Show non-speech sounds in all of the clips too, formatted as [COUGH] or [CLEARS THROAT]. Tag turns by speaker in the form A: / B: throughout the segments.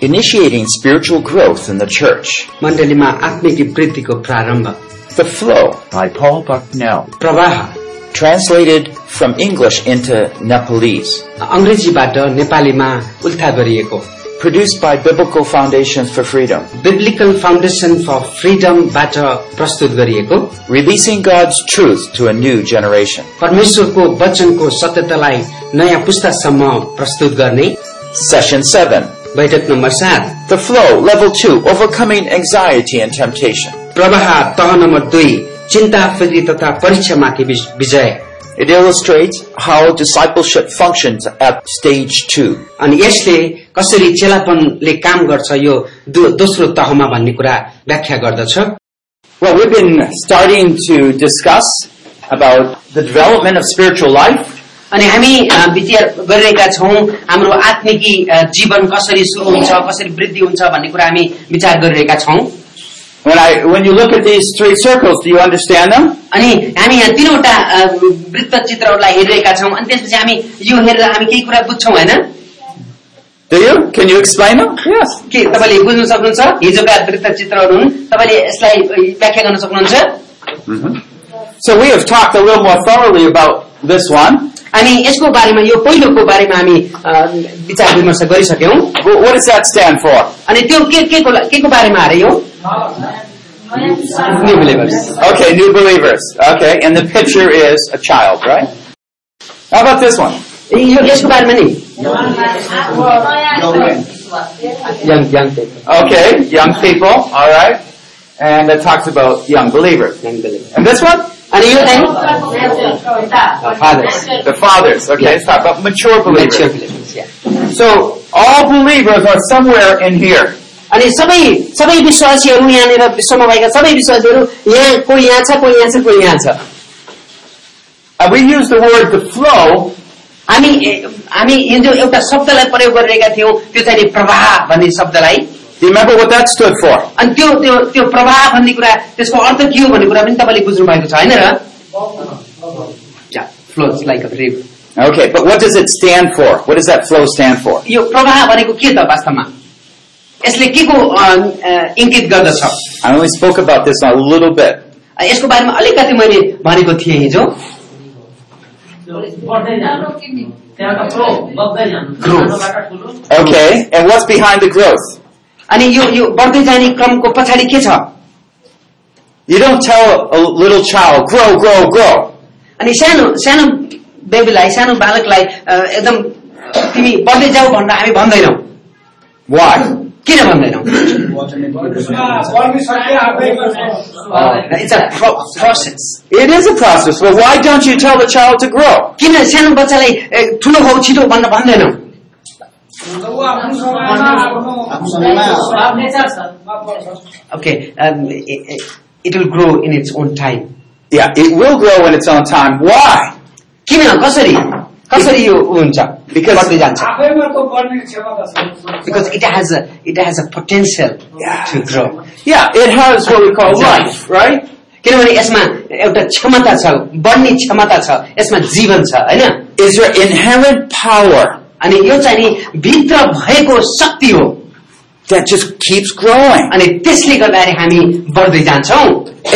A: initiating spiritual growth in the church,
B: मण्डलीमा आत्मिक वृद्धिको प्रारम्भ
A: The Flow,
C: by Paul Bucknell.
B: प्रवाह
A: translated from English into Nepalese,
B: अङ्ग्रेजीबाट नेपालीमा उल्था गरिएको
A: produced by Biblical Foundations for Freedom,
B: Biblical Foundation for फ्रिडमबाट प्रस्तुत गरिएको
A: releasing God's truth to a new generation.
B: परमेश्वरको वचनको सत्यतालाई नयाँ पुस्तासम्म प्रस्तुत गर्ने
A: Session 7,
B: बैठक नम्बर सात
A: The Flow, Level 2, Overcoming Anxiety and Temptation.
B: प्रवाह तह नम्बर दुई चिन्ता फेरि तथा परीक्षामाथि विज- विजय
A: It illustrates how discipleship functions at stage 2.
B: अनि यसले कसरी चेलापनले काम गर्छ यो दो- दोस्रो तहमा भन्ने कुरा व्याख्या गर्दछ
C: Well, we've been starting to discuss about the development of spiritual life,
B: अनि हामी अ, विचार गरिरहेका छौँ हाम्रो आत्मिकी अ, जीवन कसरी सुरु हुन्छ कसरी वृद्धि हुन्छ भन्ने कुरा हामी विचार गरिरहेका छौँ
C: When I when you look at these three circles, do you understand them?
B: अनि हामी यहाँ तिनवटा अ, वृत्त चित्रहरूलाई हेरिरहेका छौँ अनि त्यसपछि हामी यो हेरेर हामी केही कुरा बुझ्छौँ होइन
C: Do you? Can you explain them? Yes.
B: के तपाईँले बुझ्नु सक्नुहुन्छ हिजोका वृत्त चित्रहरू हुन् तपाईँले यसलाई अ, व्याख्या गर्न सक्नुहुन्छ
C: So we have talked a little more thoroughly about this one.
B: अनि यसको बारेमा यो पहिलोको बारेमा हामी अ, विचार विमर्श गरिसक्यौँ
C: Wh- What does that stand for?
B: अनि त्यो के के को के को बारेमा अरे यो New believers.
C: Okay, new believers. Okay, and the picture is a child, right? How about this one?
B: यो यसको बारेमा नि young young
C: Okay, young people, all right. And it talks about young believers.
B: Young
C: And this one?
B: अनि यो चाहिँ fathers
C: The fathers. Okay, it's talking about mature believers.
B: Mature believers, yeah.
C: So all believers are somewhere in here.
B: अनि सबै सबै विश्वासीहरू यहाँनिर विश्वमा भएका सबै विश्वासीहरू यहाँ कोही यहाँ छ कोही यहाँ छ कोही यहाँ छ
C: And we use the word the flow
B: हामी ए- हामी हिजो एउटा शब्दलाई प्रयोग गरिरहेका थियौँ त्यो चाहिँ नि प्रवाह भन्ने शब्दलाई
C: Do you remember what that stood for?
B: अनि त्यो त्यो त्यो प्रवाह भन्ने कुरा त्यसको अर्थ के हो भन्ने कुरा पनि तपाईँले बुझ्नु भएको छ होइन र flows like a river
C: Okay, but what does it stand for? What does that flow stand for?
B: यो प्रवाह भनेको के त वास्तवमा यसले के को अ, अ, इङ्कित गर्दछ
C: I only spoke about this a little bit.
B: अ, यसको बारेमा अलिकति मैले भनेको थिएँ हिजो
C: Okay, and what's behind the growth?
B: अनि यो यो बढ्दै जाने क्रमको पछाडि के छ
C: You don't tell a little child, grow, grow, grow.
B: अनि सानो सानो बेबीलाई सानो बालकलाई अ, एकदम तिमी बढ्दै जाऊ भनेर हामी भन्दैनौ
C: Why?
B: किन भन्दैनौ it's a process
C: It is a process, but why don't you tell the child to grow?
B: किन सानो बच्चालाई ए, ठुलो भाउ छिटो भन्न भन्दैनौ okay it will grow in its own time
C: Yeah, it will grow in its own time. Why?
B: किन कसरी कसरी यो उ हुन्छ बढ्दै जान्छ because it has it has a potential to grow
C: Yeah, it has what we call life, right?
B: किनभने यसमा एउटा क्षमता छ बढ्ने क्षमता छ यसमा जीवन छ होइन
C: Is your inherent power
B: अनि यो चाहिँ नि भित्र भएको शक्ति हो
C: that just keeps growing.
B: अनि त्यसले गर्दाखेरि हामी बढ्दै जान्छौ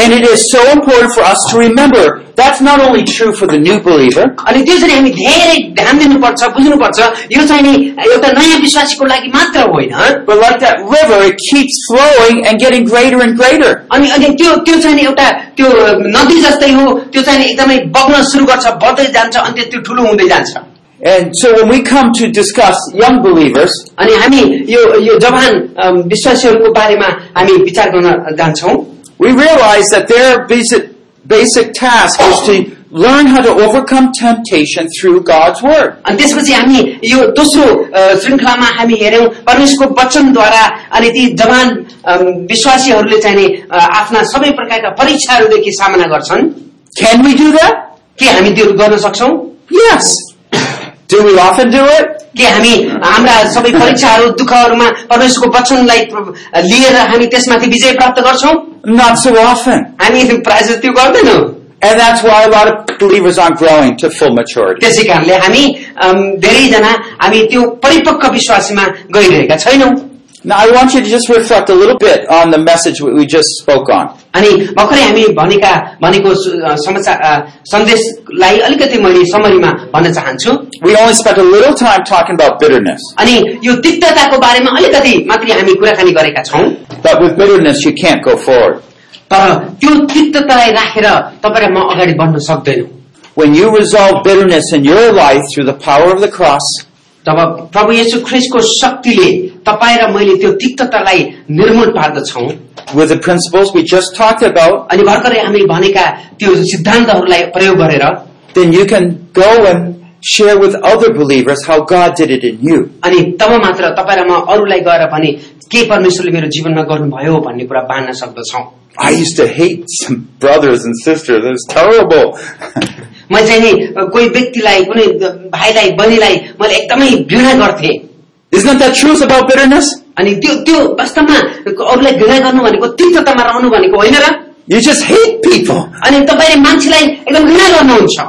C: And it is so important for us to remember that's not only true for the new believer,
B: अनि त्यो चाहिँ हामी धेरै ध्यान दिनुपर्छ बुझ्नुपर्छ यो चाहिँ नि एउटा नयाँ विश्वासीको लागि मात्र होइन
C: but like that river, it keeps flowing and getting greater and greater.
B: अनि अनि त्यो त्यो चाहिँ नि एउटा त्यो नदी जस्तै हो त्यो चाहिँ नि एकदमै बग्न सुरु गर्छ बढ्दै जान्छ अनि त्यो- त्यो ठुलो हुँदै जान्छ
C: And so when we come to discuss young believers,
B: अनि हामी यो यो जवान अम, विश्वासीहरूको बारेमा हामी विचार गर्न जान्छौँ
C: we realize that their basic, basic task is to learn how to overcome temptation through God's Word.
B: अनि त्यसपछि हामी यो दोस्रो अ, श्रृङ्खलामा हामी हेऱ्यौँ परमेश्वरको वचनद्वारा अनि ती जवान अम, विश्वासीहरूले चाहिँ नि, अ, आफ्ना सबै प्रकारका परीक्षाहरूदेखि सामना गर्छन्
C: Can we do that?
B: के हामी त्यो गर्न सक्छौँ
C: Yes. Do we often do it?
B: के हामी हाम्रा सबै परीक्षाहरू दुःखहरूमा परमेश्वरको वचनलाई प्र- लिएर हामी त्यसमाथि विजय प्राप्त गर्छौँ
C: Not so often.
B: हामी प्रायः जस्तो त्यो गर्दैनौँ
C: And that's why a lot of believers aren't growing to full maturity.
B: त्यसै कारणले हामी अम, धेरैजना हामी त्यो परिपक्व विश्वासमा गइरहेका छैनौँ
C: Now, I want you to just reflect a little bit on the message we we just spoke on.
B: अनि भर्खरै हामी भनेका भनेको सु- अ, समाचार अ, सन्देशलाई अलिकति मैले समरीमा भन्न चाहन्छु
C: We only spent a little time talking about bitterness.
B: अनि यो तिक्तताको बारेमा अलिकति मात्रै हामी कुराकानी गरेका छौँ
C: But with bitterness, you can't go forward.
B: तर त्यो तिक्ततालाई राखेर तपाईँ र म अगाडि बढ्न सक्दैनौँ
C: When you resolve bitterness in your life through the power of the cross,
B: तब प्रभु येशू ख्रिस्टको शक्तिले तपाईँ र मैले त्यो तिक्ततालाई निर्मूल पार्दछौ
C: with the principles we just talked about,
B: अनि भर्खरै हामी भनेका त्यो सिद्धान्तहरूलाई प्रयोग गरेर
C: then you can go and share with other believers how God did it in you.
B: अनि तब मात्र तपाईँ र म अरूलाई गएर भने के परमेश्वरले मेरो जीवनमा गर्नुभयो भन्ने कुरा बाँड्न सक्दछौ
C: I used to hate some brothers and sisters. It was terrible. [LAUGHS]
B: म चाहिँ नि कोही व्यक्तिलाई कुनै भाइलाई बहिनीलाई मैले एकदमै घृणा गर्थें
C: Isn't that the truth about bitterness?
B: अनि त्यो त्यो वास्तवमा अरूलाई घृणा गर्नु भनेको तिक्ततामा रहनु भनेको होइन र
C: You just hate people.
B: अनि तपाईँले मान्छेलाई एकदम घृणा गर्नुहुन्छ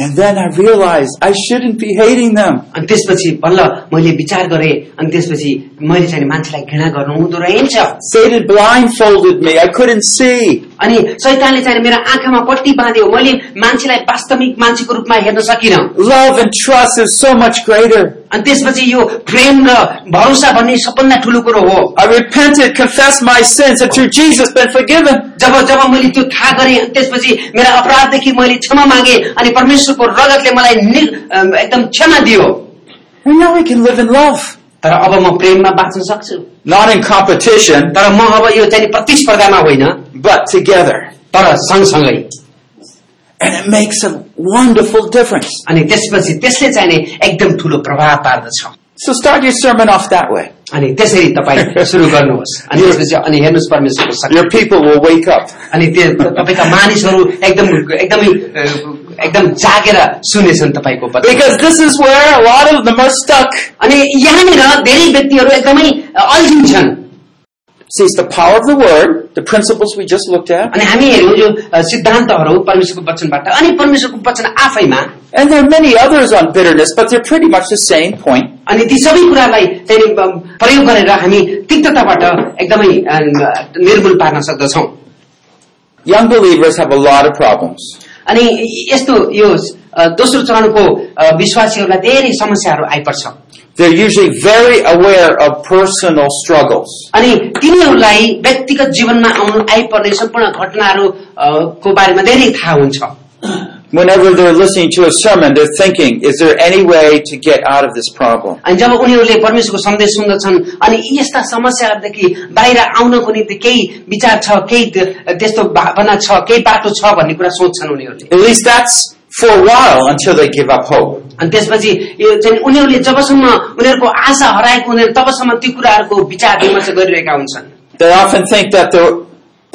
C: And then I realized I shouldn't be hating them.
B: अनि त्यसपछि बल्ल मैले विचार गरेँ अनि त्यसपछि मैले चाहिँ नि मान्छेलाई घृणा गर्नु हुँदो रहेछ
C: Satan blindfolded me. I couldn't see.
B: अनि शैतानले चाहिँ नि मेरा आँखामा पट्टी बाँध्यो मैले मान्छेलाई वास्तविक मान्छेको रूपमा हेर्न सकिनँ
C: Love and trust is so much greater.
B: अनि त्यसपछि यो प्रेम र भरोसा भन्ने सबभन्दा ठूलो कुरो हो
C: I repented, confessed my sins, and through Jesus been forgiven.
B: जब जब मैले त्यो थाहा गरेँ अनि त्यसपछि मेरा अपराधदेखि मैले क्षमा मागे अनि परमेश्वरको रगतले मलाई नि- अम, एकदम क्षमा दियो
C: And now we can live in love.
B: तर अब म प्रेममा बाँच्न सक्छु
C: Not in competition,
B: तर म अब यो चाहिँ नि प्रतिस्पर्धामा होइन
C: but together.
B: तर सँगसँगै
C: And it makes a wonderful difference.
B: अनि त्यसपछि त्यसले चाहिँ नि एकदम ठूलो प्रभाव पार्दछ
C: So start your sermon off that way.
B: अनि त्यसरी तपाईँ सुरु गर्नुहोस् अनि त्यसपछि अनि हेर्नुहोस् परमेश्वरको शक्ति।
C: Your people will wake up.
B: अनि त्यो तपाईँका मानिसहरू एकदम एकदमै अ, एकदम जागेर सुनेछन् तपाईँको वचन।
C: Because this is where a lot of them are stuck.
B: अनि यहाँनिर धेरै व्यक्तिहरू एकदमै अल्झिन्छन्
C: See, it's the power of the word, the principles we just looked at,
B: अनि हामी हेऱ्यौँ यो अ, सिद्धान्तहरू परमेश्वरको वचनबाट अनि परमेश्वरको वचन आफैमा
C: and there are many others on bitterness, but they're pretty much the same point.
B: अनि ती सबै कुरालाई चाहिँ नि, अम, प्रयोग गरेर हामी तिक्तताबाट एकदमै अ, निर्मूल पार्न सक्दछौँ
C: Young believers have a lot of problems.
B: अनि यस्तो यो अ, दोस्रो चरणको अ, विश्वासीहरूलाई धेरै समस्याहरू आइपर्छ
C: They're usually very aware of personal struggles.
B: अनि तिनीहरूलाई व्यक्तिगत जीवनमा आउनु आइपर्ने सम्पूर्ण घटनाहरू अ, को बारेमा धेरै थाहा हुन्छ
C: Whenever they're listening to a sermon, they're thinking, is there any way to get out of this problem?
B: अनि जब उनीहरूले परमेश्वरको सन्देश सुन्दछन् अनि यस्ता समस्याहरूदेखि बाहिर आउनको निम्ति केही विचार छ केही त- त्यस्तो भावना छ केही बाटो छ भन्ने कुरा सोध्छन् उनीहरूले
C: At least that's for a while until they give up hope.
B: अनि त्यसपछि यो चाहिँ उनीहरूले जबसम्म उनीहरूको आशा हराएको उनीहरू तबसम्म त्यो कुराहरूको विचार विमर्श गरिरहेका हुन्छन्
C: They often think that the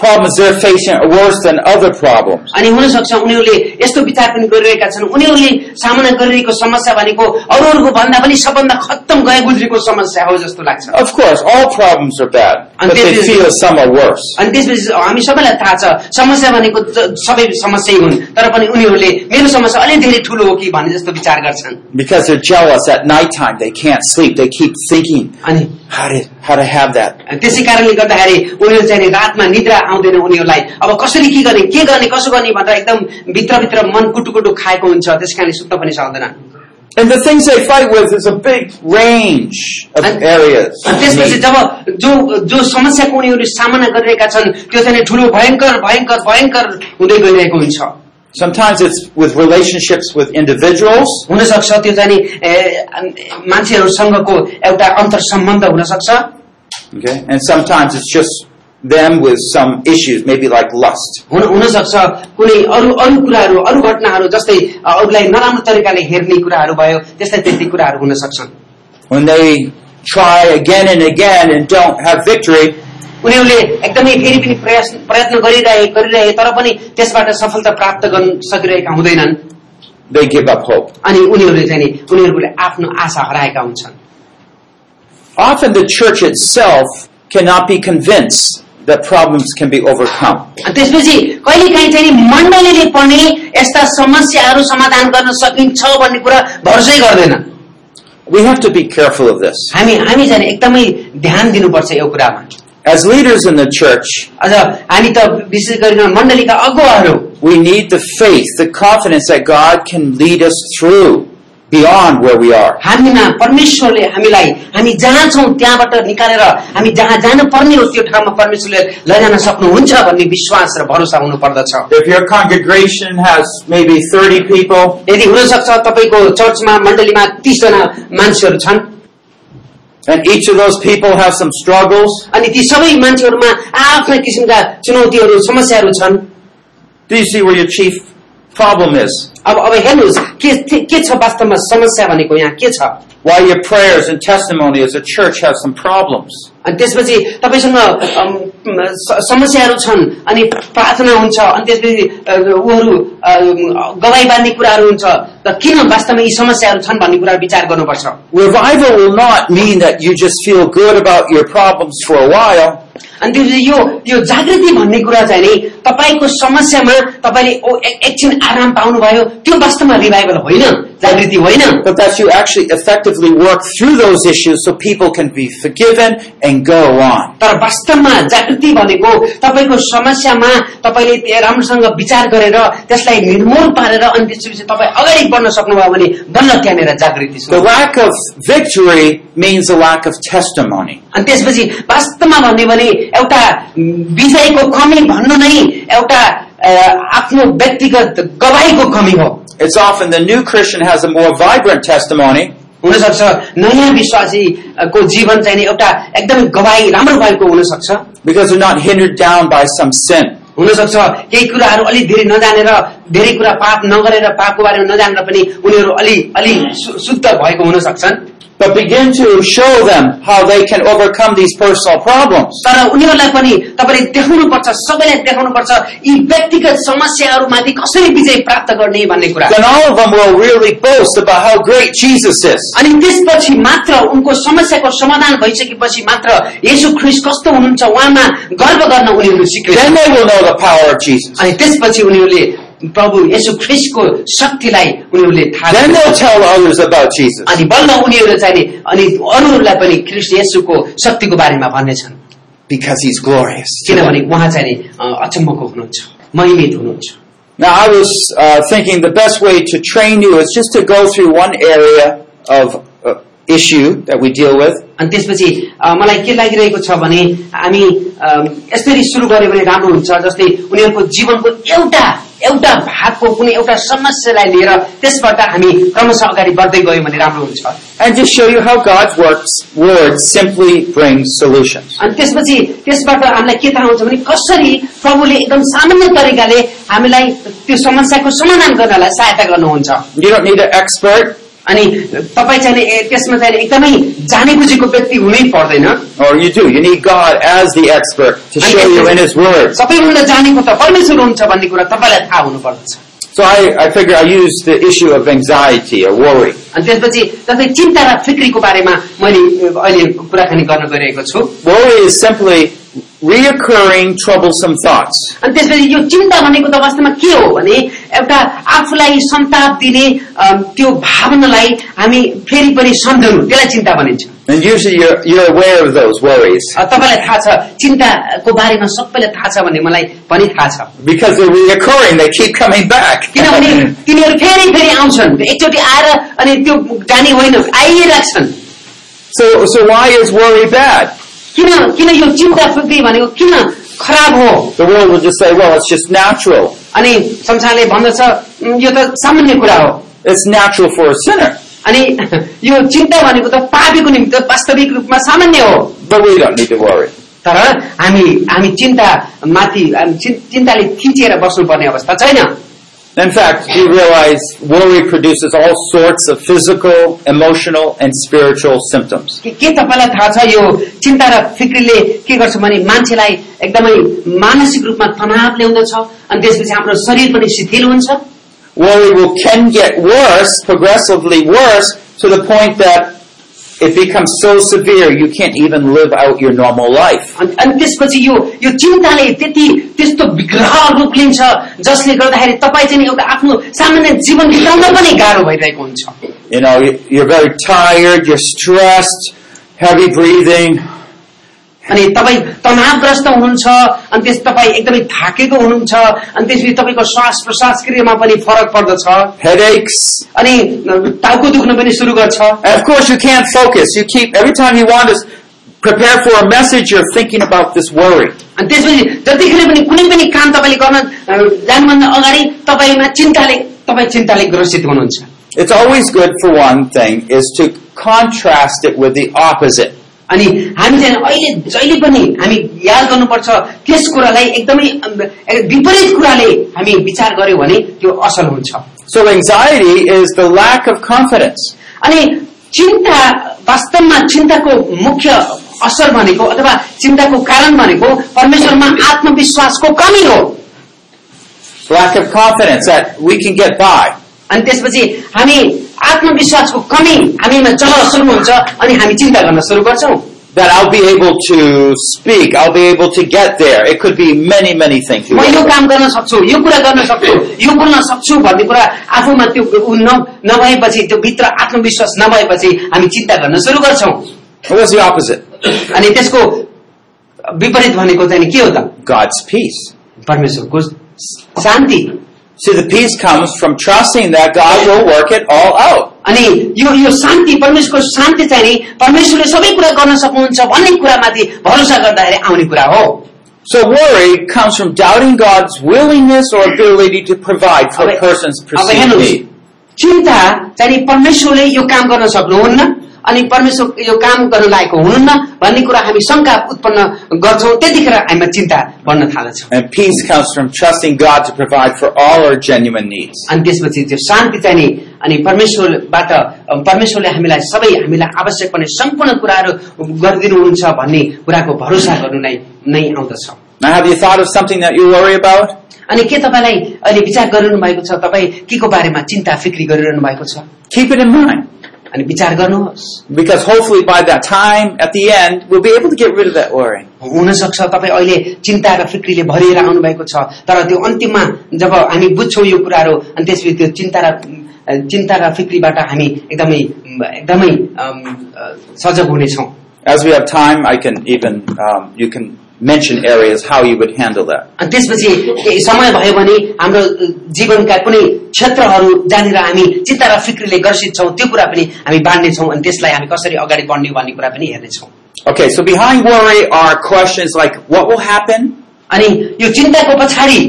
C: problems they're facing are worse than other problems.
B: अनि हुनसक्छ उनीहरूले यस्तो विचार पनि गरिरहेका छन् उनीहरूले सामना गरिरहेको समस्या भनेको अरूहरूको भन्दा पनि सबभन्दा खत्तम गए गुज्रेको समस्या हो जस्तो लाग्छ
C: Of course, all problems are bad, but they feel some are worse.
B: अनि त्यसपछि हामी सबैलाई थाहा छ समस्या भनेको ज- सबै समस्या हुन् तर पनि उनीहरूले मेरो समस्या अलि धेरै ठूलो हो कि भन्ने जस्तो विचार गर्छन्
C: Because they're jealous at nighttime, they can't sleep. They keep thinking
B: अनि
C: how to how to have that.
B: त्यसै कारणले गर्दाखेरि उनीहरू चाहिँ नि रातमा निद्रा आउँदैन उनीहरूलाई अब कसरी के गर्ने के गर्ने कसो गर्ने भनेर एकदम भित्रभित्र मन कुटुकुटु खाएको हुन्छ त्यस कारणले सुत्न पनि सक्दैनन्
C: And the things they fight with is a big range of
B: And-
C: areas.
B: अनि त्यसपछि जब जो जो समस्याको उनीहरू सामना गरिरहेका छन् त्यो चाहिँ नि ठुलो भयङ्कर भयङ्कर भयङ्कर हुँदै गइरहेको हुन्छ
C: Sometimes it's with relationships with individuals.
B: हुनसक्छ त्यो चाहिँ नि ए, मान्छेहरूसँगको एउटा अन्तर सम्बन्ध हुनसक्छ
C: Okay, and sometimes it's just them with some issues, maybe like lust.
B: हुन हुनसक्छ कुनै अरू अरू कुराहरू अरू घटनाहरू जस्तै अ, अरूलाई नराम्रो तरिकाले हेर्ने कुराहरू भयो त्यस्तै त्यस्तै कुराहरू हुन सक्छन्
C: When they try again and again and don't have victory,
B: उनीहरूले एकदमै फेरि पनि प्रयास प्रयत्न गरिरहे गरिरहे तर पनि त्यसबाट सफलता प्राप्त गर्न सकिरहेका हुँदैनन्
C: they give up hope.
B: अनि उनीहरूले चाहिँ नि उनीहरूले आफ्नो आशा हराएका हुन्छन्
C: Often the church itself cannot be convinced that problems can be overcome.
B: अनि त्यसपछि कहिले काहीँ चाहिँ नि मण्डलीले पनि यस्ता समस्याहरू समाधान गर्न सकिन्छ भन्ने कुरा भरोसै गर्दैन
C: We have to be careful of this.
B: हामी हामी झन् एकदमै ध्यान दिनुपर्छ यो कुरामा
C: As leaders in the church,
B: अझ हामी त विशेष गरिकन मण्डलीका अगुवाहरू
C: we need the faith, the confidence that God can lead us through beyond where we are.
B: हामीमा परमेश्वरले हामीलाई हामी जहाँ छौँ त्यहाँबाट निकालेर हामी जहाँ जानु पर्ने हो त्यो ठाउँमा परमेश्वरले लैजान सक्नुहुन्छ भन्ने विश्वास र भरोसा हुनुपर्दछ
D: If your congregation has maybe 30 people,
B: यदि हुनसक्छ तपाईँको चर्चमा मण्डलीमा तीसजना मान्छेहरू छन्
D: and each of those people have some struggles,
B: अनि ती सबै मान्छेहरूमा आफ्ना किसिमका चुनौतीहरू समस्याहरू छन्
D: do you see where your chief problem is?
B: अब अब हेर्नुहोस् के के- के छ वास्तवमा समस्या भनेको यहाँ के छ
D: Why your prayers and testimony as a church have some problems?
B: अनि त्यसपछि तपाईँसँग अम, म, स- समस्याहरू छन् अनि प्रार्थना हुन्छ अनि त्यसपछि अ, उहरू अ, गवाई बाँध्ने कुराहरू हुन्छ र किन वास्तवमा यी समस्याहरू छन् भन्ने कुरा विचार गर्नुपर्छ
C: Revival will not mean that you just feel good about your problems for a while,
B: अनि त्यसपछि यो यो जागृति भन्ने कुरा चाहिँ नि तपाईँको समस्यामा तपाईँले ओ- ए- एकछिन आराम पाउनुभयो त्यो वास्तवमा रिभाइभल होइन जागृति होइन
C: but that you actually effectively work through those issues so people can be forgiven and go on.
B: तर वास्तवमा जागृति भनेको तपाईँको समस्यामा तपाईँले त्यो राम्रोसँग विचार गरेर त्यसलाई निर्मूल पारेर अनि त्यसपछि तपाईँ अगाडि बढ्न सक्नुभयो भने बल्ल त्यहाँनिर जागृति
C: The
B: सुरु।
C: lack of victory means a lack of testimony.
B: अनि त्यसपछि वास्तवमा भन्यो भने एउटा विजयको कमी भन्नु नै एउटा अ, आफ्नो व्यक्तिगत गवाईको कमी हो
C: It's often the new Christian has a more vibrant testimony,
B: हुनसक्छ नयाँ विश्वासीको जीवन चाहिँ नि एउटा एकदम गवाई राम्रो भएको हुनसक्छ
C: because they're not hindered down by some sin.
B: हुनसक्छ केही कुराहरू अलिक धेरै नजानेर धेरै कुरा पाप नगरेर पापको बारेमा नजानेर पनि उनीहरू अलि अलि शु- शुद्ध भएको हुन सक्छन्
C: But begin to show them how they can overcome these personal problems.
B: तर उनीहरूलाई पनि तपाईँले देखाउनुपर्छ सबैलाई देखाउनुपर्छ यी व्यक्तिगत समस्याहरूमाथि कसरी विजय प्राप्त गर्ने भन्ने कुरा
C: Then all of them will really boast about how great Jesus is.
B: अनि त्यसपछि मात्र उनको समस्याको समाधान भइसकेपछि मात्र यसो ख्रिस कस्तो हुनुहुन्छ उहाँमा गर्व गर्न उनीहरू सिक्ने
C: Then they will know the power of Jesus.
B: अनि त्यसपछि उनीहरूले प्रभु यसो ख्रिसको शक्तिलाई उनीहरूले थाहा
C: Then
B: गर्छ।
C: they'll tell others about Jesus.
B: अनि बल्ल उनीहरू चाहिँ नि अनि अरूहरूलाई पनि ख्रिस्ट यसुको शक्तिको बारेमा भन्नेछन्
C: Because he's glorious.
B: किनभने उहाँ चाहिँ नि अ, अचम्मको हुनुहुन्छ महिमित हुनुहुन्छ
C: Now, I was uh, thinking the best way to train you is just to go through one area of uh, issue that we deal with,
B: अनि त्यसपछि अ, मलाई के लागिरहेको छ भने हामी अ, यसरी सुरु गर्यो भने राम्रो हुन्छ जस्तै उनीहरूको जीवनको एउटा एउटा भागको कुनै एउटा समस्यालाई लिएर त्यसबाट हामी क्रमशः अगाडि बढ्दै गयौँ भने राम्रो हुन्छ
C: and just show you how God's works, word simply brings solutions.
B: अनि त्यसपछि त्यसबाट हामीलाई के थाहा हुन्छ भने कसरी प्रभुले एकदम सामान्य तरिकाले हामीलाई त्यो समस्याको समाधान गर्नलाई सहायता गर्नुहुन्छ
C: You don't need an expert,
B: अनि तपाईँ चाहिँ नि ए- त्यसमा चाहिँ नि एकदमै जाने बुझेको व्यक्ति हुनै पर्दैन
C: or you do. You need God as the expert to show you in His Word.
B: सबैभन्दा जानेको त परमेश्वर हुन्छ भन्ने कुरा तपाईँलाई थाहा हुनुपर्दछ
C: So I, I figure I use the issue of anxiety or worry.
B: अनि त्यसपछि जस्तै चिन्ता र फिक्रीको बारेमा मैले अ, अहिले कुराकानी गर्न गइरहेको छु
C: Worry is simply reoccurring troublesome thoughts.
B: अनि त्यसपछि यो चिन्ता भनेको त वास्तवमा के हो भने एउटा आफूलाई सन्ताप दिने अ, त्यो भावनालाई हामी फेरि पनि सम्झनु त्यसलाई चिन्ता भनिन्छ
C: And usually you're, you're aware of those worries
B: अ, तपाईँलाई थाहा छ चिन्ताको बारेमा सबैलाई थाहा छ भन्ने मलाई पनि थाहा छ
C: because they're reoccurring. They keep coming back.
B: किनभने तिनीहरू फेरि फेरि आउँछन् एकचोटि आएर अनि त्यो जाने होइन आइराख्छन्
C: [LAUGHS] so, so why is worry bad?
B: किन किन यो चिन्ता फुक्री भनेको किन खराब हो
C: The world will just say, well, it's just natural.
B: अनि संसारले भन्दछ "उम्, यो त सामान्य कुरा हो
C: It's natural for a sinner.
B: अनि यो चिन्ता भनेको त पापीको निम्ति त वास्तविक रूपमा सामान्य हो
C: But we don't need to worry.
B: तर हामी हामी चिन्ता माथि हामी चिन- चिन्ताले थिचिएर बस्नुपर्ने अवस्था छैन
C: In fact, you realize worry produces all sorts of physical, emotional, and spiritual symptoms.
B: के के तपाईँलाई थाहा छ यो चिन्ता र फिक्रीले के गर्छ भने मान्छेलाई एकदमै मानसिक रूपमा तनाव ल्याउँदछ अनि त्यसपछि हाम्रो शरीर पनि शिथिल हुन्छ
C: Worry will, can get worse, progressively worse, to the point that it becomes so severe you can't even live out your normal life.
B: अनि अनि त्यसपछि यो यो चिन्ताले त्यति त्यस्तो विग्रह रूप लिन्छ जसले गर्दाखेरि तपाईँ चाहिँ नि एउटा आफ्नो सामान्य जीवन बिताउन पनि गाह्रो भइरहेको हुन्छ
C: You know, you- you're very tired, you're stressed, heavy breathing.
B: अनि तपाईँ तनावग्रस्त हुनुहुन्छ अनि त्यस तपाईँ एकदमै थाकेको हुनुहुन्छ अनि त्यसपछि तपाईँको श्वास प्रश्वास क्रियामा पनि फरक पर्दछ
C: headaches.
B: अनि टाउको दुख्न पनि सुरु गर्छ
C: And of course, you can't focus. You keep every time you want to prepare for a message, you're thinking about this worry.
B: अनि त्यसपछि जतिखेर पनि कुनै पनि काम तपाईँले गर्न अ, जानुभन्दा अगाडि तपाईँमा चिन्ताले तपाईँ चिन्ताले ग्रसित हुनुहुन्छ
C: It's always good for one thing is to contrast it with the opposite.
B: अनि हामी चाहिँ अहिले जहिले पनि हामी याद गर्नुपर्छ त्यस कुरालाई एकदमै अम, विपरीत कुराले हामी विचार गर्यो भने त्यो असल हुन्छ
C: So anxiety is the lack of confidence.
B: अनि चिन्ता वास्तवमा चिन्ताको मुख्य असर भनेको अथवा चिन्ताको कारण भनेको परमेश्वरमा आत्मविश्वासको कमी हो
C: Lack of confidence that we can get by.
B: अनि त्यसपछि हामी आत्मविश्वासको कमी हामीमा चलन सुरु हुन्छ अनि हामी चिन्ता गर्न सुरु गर्छौ
C: That I'll be able to speak. I'll be able to get there. It could be many, many things.
B: म यो काम गर्न सक्छु यो कुरा गर्न सक्छु यो गर्न सक्छु भन्ने कुरा आफूमा त्यो उ न- नभएपछि त्यो भित्र आत्मविश्वास नभएपछि हामी चिन्ता गर्न सुरु गर्छौ
C: What's the opposite?
B: अनि त्यसको विपरीत भनेको चाहिँ नि के हो त
C: God's peace.
B: परमेश्वरको शान्ति
C: See, the peace comes from trusting that God will work it all out.
B: अनि यो यो शान्ति परमेश्वरको शान्ति चाहिँ नि परमेश्वरले सबै कुरा गर्न सक्नुहुन्छ भन्ने कुरामाथि भरोसा गर्दाखेरि आउने कुरा हो
C: So worry comes from doubting God's willingness or ability to provide for a person's
B: अब
C: perceived
B: हेर्नुहोस्
C: need.
B: चिन्ता चाहिँ नि परमेश्वरले यो काम गर्न सक्नुहुन्न अनि परमेश्वर यो काम गर्न लागेको हुनुहुन्न भन्ने कुरा हामी शङ्का उत्पन्न गर्छौँ त्यतिखेर हामीमा चिन्ता बढ्न थाल्छौँ
C: And peace comes from trusting God to provide for all our genuine needs.
B: अनि त्यसपछि त्यो शान्ति चाहिँ नि अनि परमेश्वरबाट अ, परमेश्वरले हामीलाई सबै हामीलाई आवश्यक पर्ने सम्पूर्ण कुराहरू गरिदिनुहुन्छ भन्ने कुराको भरोसा गर्नु नै नै आउँदछ
C: Now have you thought of something that you worry about?
B: अनि के तपाईँलाई अहिले विचार गरिरहनु भएको छ तपाईँ के को बारेमा चिन्ता फिक्री गरिरहनु भएको छ
C: Keep it in mind.
B: अनि विचार गर्नुहोस्
C: Because hopefully by that time, at the end, we'll be able to get rid of that worry.
B: हुनसक्छ तपाईँ अहिले चिन्ता र फिक्रीले भरिएर आउनु भएको छ तर त्यो अन्तिममा जब हामी बुझ्छौँ यो कुराहरू अनि त्यसपछि त्यो चिन्ता र चिन्ता र फिक्रीबाट हामी एकदमै एकदमै अम, अ, सजग हुनेछौँ
C: As we have time, I can even, um, you can mention areas how you would handle that.
B: अनि त्यसपछि केही समय भयो भने हाम्रो जीवनका कुनै क्षेत्रहरू जहाँनिर हामी चिन्ता र फिक्रीले ग्रसित छौँ त्यो कुरा पनि हामी बाँड्नेछौँ अनि त्यसलाई हामी कसरी अगाडि बढ्ने भन्ने कुरा पनि हेर्नेछौं
C: Okay, so behind worry are questions like, what will happen?
B: अनि यो चिन्ताको पछाडि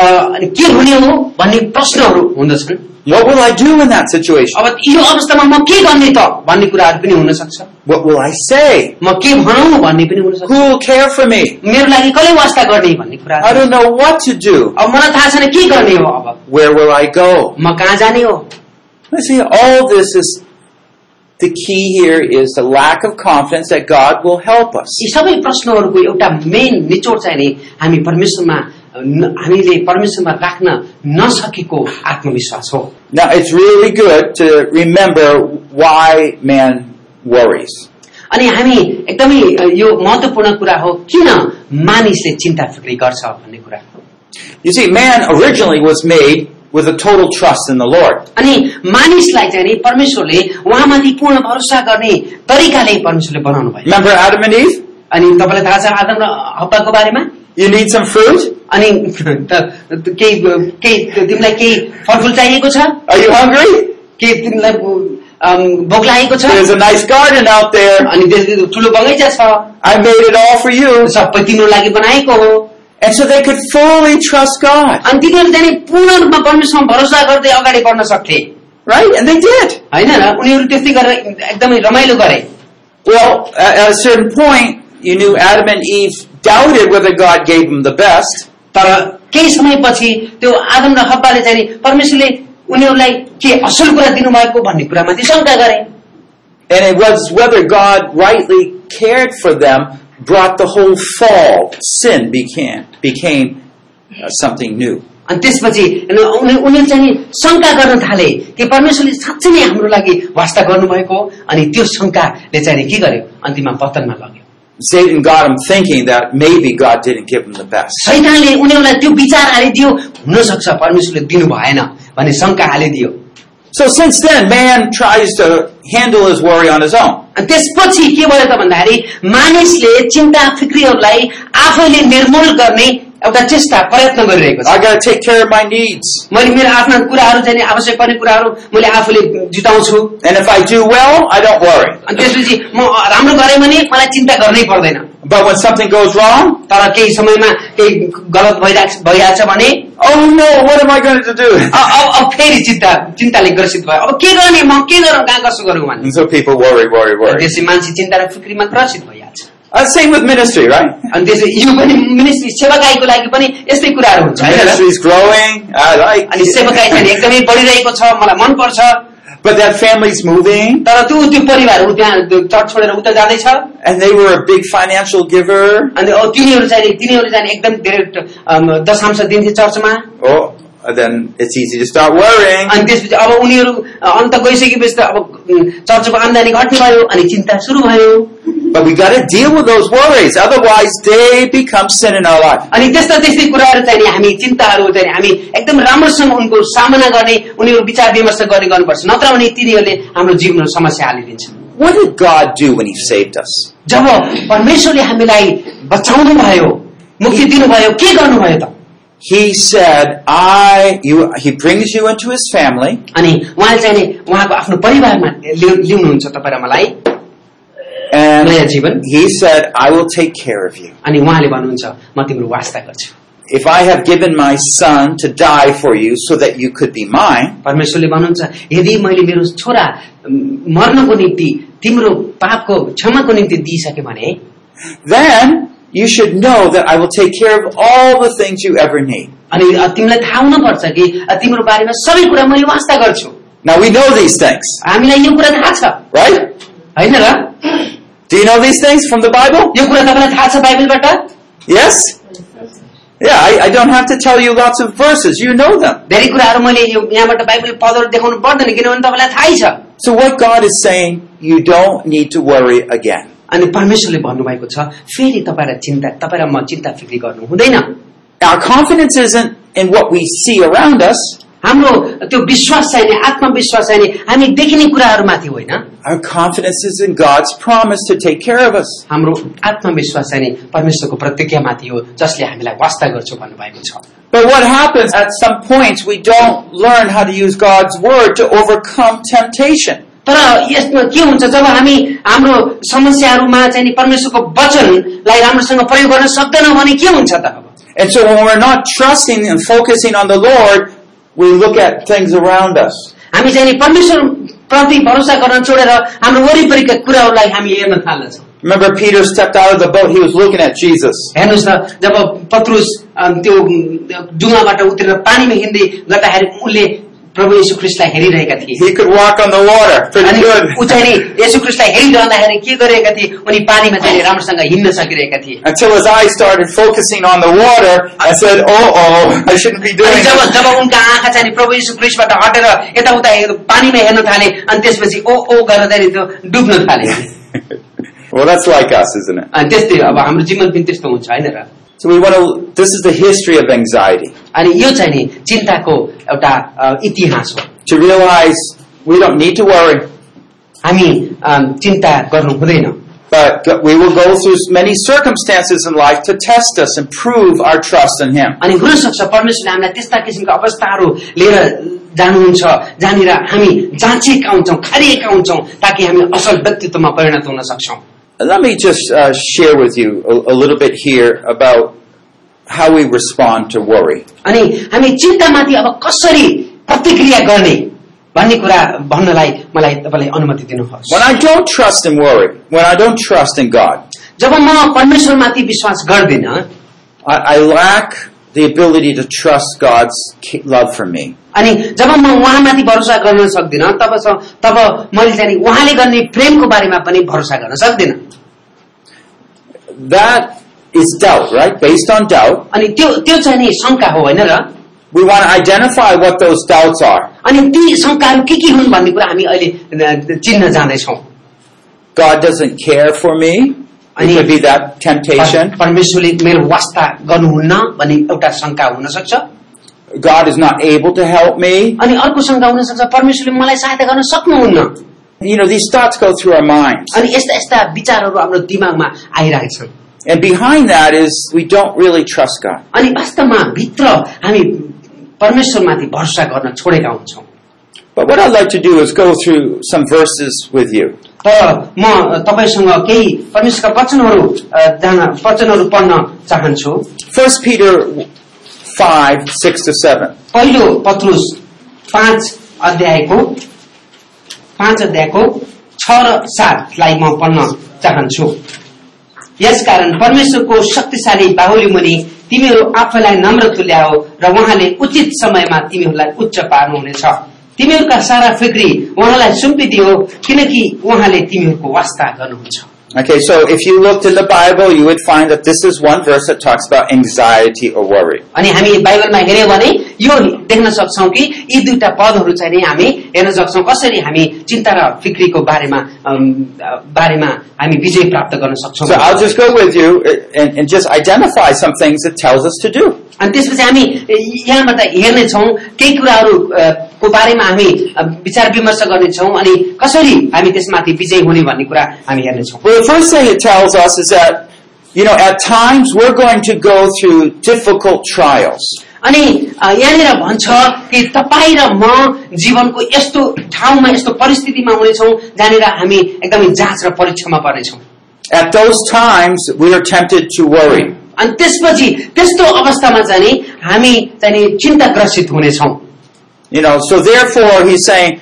B: अ, अनि के हुने हो भन्ने प्रश्नहरू हुँदछन्
C: What will I do in that situation?
B: अब यो अवस्थामा म के गर्ने त भन्ने कुराहरू पनि हुन सक्छ
C: What will I say?
B: म के भनौँ भन्ने पनि हुन सक्छ
C: Who will care for me?
B: मेरो लागि कसले वास्ता गर्ने भन्ने कुरा
C: I don't know what to do.
B: अब मलाई थाहा छैन के गर्ने हो अब
C: Where will I go?
B: म कहाँ जाने हो
C: You see, all this is the key here is the lack of confidence that God will help us.
B: यी सबै प्रश्नहरूको एउटा मेन निचोड चाहिँ नि हामी परमेश्वरमा न- हामीले परमेश्वरमा राख्न नसकेको आत्मविश्वास हो
C: Now, it's really good to remember why man worries.
B: अनि हामी एकदमै अ, यो महत्वपूर्ण कुरा हो किन मानिसले चिन्ता फिक्री गर्छ भन्ने कुरा हो
C: You see, man originally was made with a total trust in the Lord.
B: अनि मानिसलाई चाहिँ नि परमेश्वरले उहाँमाथि पूर्ण भरोसा गर्ने तरिकाले परमेश्वरले बनाउनु भयो
C: Remember Adam and Eve?
B: अनि तपाईँलाई थाहा छ आदम र हप्पाको बारेमा
C: You need some fruit?
B: अनि [LAUGHS] त- त- केही केही तिमीलाई केही फलफुल चाहिएको छ
C: Are you hungry?
B: केही तिमीलाई अम, भोक लागेको छ
C: There's a nice garden out there.
B: अनि त्यसले ठुलो बगैँचा छ
C: I made it all for you.
B: सबै तिम्रो लागि बनाएको हो
C: And so they could fully trust God.
B: अनि तिनीहरू चाहिँ नि पूर्ण रूपमा परमेश्वरमा भरोसा गर्दै अगाडि बढ्न सक्थे
C: Right? And they did.
B: होइन र उनीहरू त्यस्तै गरेर एकदमै रमाइलो गरे
C: Well, at at a certain point, you knew Adam and Eve doubted whether God gave them the best.
B: तर केही समयपछि त्यो आदम र हब्बाले चाहिँ नि परमेश्वरले उनीहरूलाई के असल कुरा दिनुभएको भन्ने कुरामाथि शङ्का गरे
C: And it was whether God rightly cared for them brought the whole fall. Sin became, became uh, something new.
B: अनि त्यसपछि उनी- उनीहरू चाहिँ नि शङ्का गर्न थाले कि परमेश्वरले साँच्चै नै हाम्रो लागि वास्ता गर्नुभएको हो अनि त्यो शङ्काले चाहिँ नि के गर्यो अन्तिममा पतनमा लग्यो
C: Satan got them thinking that maybe God didn't give them the best.
B: सैतानले उनीहरूलाई त्यो विचार हालिदियो हुनसक्छ परमेश्वरले दिनु भएन भन्ने शङ्का हालिदियो
C: So since then, man tries to handle his worry on his own.
B: अनि त्यसपछि के भयो त भन्दाखेरि मानिसले चिन्ता फिक्रीहरूलाई आफैले निर्मूल गर्ने एउटा चेष्टा प्रयत्न गरिरहेको छ
C: I gotta take care of my needs.
B: मैले मेरो आफ्ना कुराहरू चाहिँ आवश्यक पर्ने कुराहरू मैले आफूले जुटाउँछु
C: And if I do well, I don't worry.
B: अनि त्यसपछि म राम्रो गरेँ भने मलाई चिन्ता गर्नै पर्दैन
C: But when something goes wrong,
B: तर केही समयमा केही गलत भइरहेको भइरहेछ भने
C: oh no, what am I going to do?
B: अ- अब अब फेरि चिन्ता चिन्ताले ग्रसित भयो अब के गर्ने म के गरौँ कहाँ कसो गरौँ भने
C: [LAUGHS] And so people worry, worry, worry.
B: त्यसपछि मान्छे चिन्ता र फिक्रीमा ग्रसित भइहाल्छ
C: Uh, same with ministry, right?
B: अनि त्यसो यो पनि मिनिस्ट्री सेवाकाईको लागि पनि यस्तै कुराहरू हुन्छ होइन र?
C: Ministry's growing. I like.
B: अनि सेवाकाई चाहिँ एकदमै बढिरहेको छ मलाई मनपर्छ
C: But that family's moving,
B: तर त्यो त्यो परिवार ऊ त्यहाँ त्यो चर्च छोडेर उता जाँदैछ
C: and they were a big financial giver.
B: अनि अब तिनीहरू चाहिँ तिनीहरू चाहिँ एकदम धेरै अम, दशांश दिन्थे चर्चमा
C: Oh, and then it's easy to start worrying.
B: अनि त्यसपछि अब उनीहरू अ, अन्त गइसकेपछि त अब उम्, चर्चको आम्दानी घट्ने भयो अनि चिन्ता सुरु भयो
C: But we gotta deal with those worries, otherwise they become sin in our life.
B: अनि त्यस्ता त्यस्तै कुराहरू चाहिँ नि हामी चिन्ताहरू चाहिँ नि हामी एकदम राम्रोसँग उनको सामना गर्ने उनीहरू विचार विमर्श गर्ने गर्नुपर्छ नत्र भने तिनीहरूले हाम्रो जीवनमा समस्या हालिदिन्छ
C: What did God do when He saved us?
B: जब परमेश्वरले हामीलाई बचाउनु भयो मुक्ति दिनुभयो के गर्नुभयो त
C: He said, I, you, He brings you into His family,
B: अनि उहाँले चाहिँ नि उहाँको आफ्नो परिवारमा ल्याउ- ल्याउनुहुन्छ तपाईँ र मलाई नयाँ
C: and
B: जीवन
C: He said, I will take care of you.
B: अनि उहाँले भन्नुहुन्छ म तिम्रो वास्ता गर्छु
C: If I have given my Son to die for you so that you could be mine,
B: परमेश्वरले भन्नुहुन्छ यदि मैले मेरो छोरा म, मर्नको निम्ति तिम्रो पापको क्षमाको निम्ति दिइसकेँ भने
C: then you should know that I will take care of all the things you ever need.
B: अनि अ, तिमीलाई थाहा हुनुपर्छ कि अ, तिम्रो बारेमा सबै कुरा मैले वास्ता गर्छु
C: Now we know these things,
B: हामीलाई यो कुरा थाहा छ
C: right?
B: होइन र
C: Do you know these things from the Bible?
B: यो कुरा तपाईँलाई थाहा छ बाइबलबाट
C: Yes? Yeah, I, I don't have to tell you lots of verses. You know them.
B: धेरै कुराहरू मैले यो यहाँबाट बाइबल पदहरू देखाउनु पर्दैन किनभने तपाईँलाई थाहै छ
C: So what God is saying, you don't need to worry again.
B: अनि परमेश्वरले भन्नुभएको छ फेरि तपाईँलाई चिन्ता तपाईँ र म चिन्ता फिक्री गर्नु हुँदैन
C: Our confidence isn't in what we see around us.
B: हाम्रो त्यो विश्वास चाहिने आत्मविश्वास चाहिने हामी देखिने कुराहरूमाथि होइन
C: Our confidence is in God's promise to take care of us.
B: हाम्रो आत्मविश्वास चाहिने परमेश्वरको प्रतिज्ञामाथि हो जसले हामीलाई वास्ता गर्छु भन्नुभएको छ
C: But what happens at some points, we don't learn how to use God's word to overcome temptation.
B: तर यसमा के हुन्छ जब हामी हाम्रो समस्याहरूमा चाहिँ नि परमेश्वरको वचनलाई राम्रोसँग प्रयोग गर्न सक्दैनौँ भने के हुन्छ त अब
C: And so when we're not trusting and focusing on the Lord, we look at things around us.
B: हामी चाहिँ नि परमेश्वर प्रति भरोसा गर्न छोडेर हाम्रो वरिपरिका कुराहरूलाई हामी हेर्न थाल्दछौँ
C: Remember Peter stepped out of the boat, he was looking at Jesus.
B: हेर्नुहोस् त जब पत्रुस अम, त्यो डुङ्गाबाट उत्रेर पानीमा हिँड्दै गर्दाखेरि उनले प्रभु यशु ख्रिस्टलाई हेरिरहेका थिए
C: He could walk on the water pretty
B: अनि ऊ
C: good
B: चाहिँ नि यशु ख्रिस्टलाई हेरिरहँदाखेरि के गरेका थिए उनी पानीमा चाहिँ नि राम्रोसँग हिँड्न सकिरहेका थिए
C: until his eyes started focusing on the water. I said, "Oh, oh, I shouldn't be doing
B: अनि जब
C: this."
B: जब उनका आँखा चाहिँ नि प्रभु यशु ख्रिस्टबाट हटेर यताउता हेर- पानीमा हेर्न थाले अनि त्यसपछि ओ ओ गरेर चाहिँ नि त्यो डुब्न थाले
C: well, that's like us, isn't it?
B: अनि त्यस्तै अब हाम्रो जीवन पनि त्यस्तो हुन्छ होइन र
C: So we want to. This is the history of anxiety.
B: अनि यो चाहिँ नि चिन्ताको एउटा अ, इतिहास हो
C: To realize we don't need to worry,
B: हामी अम, चिन्ता गर्नु हुँदैन
C: but go- we will go through many circumstances in life to test us and prove our trust in Him.
B: अनि हुनसक्छ परमेश्वरले हामीलाई त्यस्ता किसिमका अवस्थाहरू लिएर जानुहुन्छ जहाँनिर हामी जाँचेका हुन्छौँ खारिएका हुन्छौँ ताकि हामी असल व्यक्तित्वमा परिणत हुन सक्छौँ
C: Let me just uh, share with you a, a little bit here about how we respond to worry.
B: अनि हामी चिन्तामाथि अब कसरी प्रतिक्रिया गर्ने भन्ने कुरा भन्नलाई मलाई तपाईँलाई अनुमति दिनुहोस्
C: When I don't trust in worry, when I don't trust in God,
B: जब म परमेश्वरमाथि विश्वास गर्दिन
C: I, I lack the ability to trust God's ca- love for me.
B: अनि जब म उहाँमाथि भरोसा गर्न सक्दिनँ तब तब मैले चाहिँ नि उहाँले गर्ने प्रेमको बारेमा पनि भरोसा गर्न सक्दिनँ
C: That is doubt, right? Based on doubt,
B: अनि त्यो त्यो चाहिँ नि शङ्का हो होइन र
C: we want to identify what those doubts are.
B: अनि ती शङ्काहरू के के हुन् भन्ने कुरा हामी अहिले अ, चिन्न जाँदैछौँ
C: God doesn't care for me.
B: I
C: It could be
B: need-
C: that temptation.
B: पर- परमेश्वरले मेरो वास्ता गर्नुहुन्न भन्ने एउटा शङ्का हुन सक्छ
C: God is not able to help me.
B: अनि अर्को शङ्का हुन सक्छ परमेश्वरले मलाई सहायता गर्न सक्नुहुन्न
C: You know, these thoughts go through our minds.
B: अनि यस्ता यस्ता विचारहरू हाम्रो दिमागमा आइरहेका छन्
C: And behind that is we don't really trust God.
B: अनि वास्तवमा भित्र हामी परमेश्वरमाथि भरोसा गर्न छोडेका हुन्छौँ
C: But what I'd like to do is go through some verses with you.
B: तर म तपाईँसँग केही परमेश्वरका वचनहरू अ, जान वचनहरू पढ्न चाहन्छु
C: 1 Peter 5, 6 to 7.
B: पहिलो पत्रुस पाँच अध्यायको पाँच अध्यायको छ र सातलाई म पढ्न चाहन्छु यसकारण परमेश्वरको शक्तिशाली बाहुली मुनि तिमीहरू आफैलाई नम्र तुल्याओ र उहाँले उचित समयमा तिमीहरूलाई उच्च पार्नुहुनेछ तिमीहरूका सारा फिक्री उहाँलाई सुम्पिदियो किनकि उहाँले तिमीहरूको वास्ता गर्नुहुन्छ
C: Okay, so if you looked in the Bible, you would find that this is one verse that talks about anxiety or worry.
B: अनि हामी बाइबलमा हेऱ्यौँ भने यो देख्न सक्छौ कि यी दुईटा पदहरू चाहिँ नि हामी हेर्न सक्छौ कसरी हामी चिन्ता र फिक्रीको बारेमा अम, बारेमा हामी विजय प्राप्त गर्न सक्छौ
C: So I'll just go with you uh, and, and just identify some things it tells us to do.
B: अनि त्यसपछि हामी यहाँबाट हेर्नेछौँ केही कुराहरू अ, को बारेमा हामी अ, विचार विमर्श गर्नेछौँ अनि कसरी हामी त्यसमाथि विजय हुने भन्ने कुरा हामी हेर्नेछौँ
C: Well, the first thing it tells us is that, you know, at times we're going to go through difficult trials.
B: अनि अ, यहाँनिर भन्छ कि तपाईँ र म जीवनको यस्तो ठाउँमा यस्तो परिस्थितिमा हुनेछौँ जहाँनिर हामी एकदमै जाँच र परीक्षामा पर्नेछौँ
C: At those times, we are tempted to worry.
B: अनि त्यसपछि त्यस्तो अवस्थामा चाहिँ नि हामी चाहिँ नि चिन्ताग्रसित हुनेछौँ
C: You know, so therefore he's saying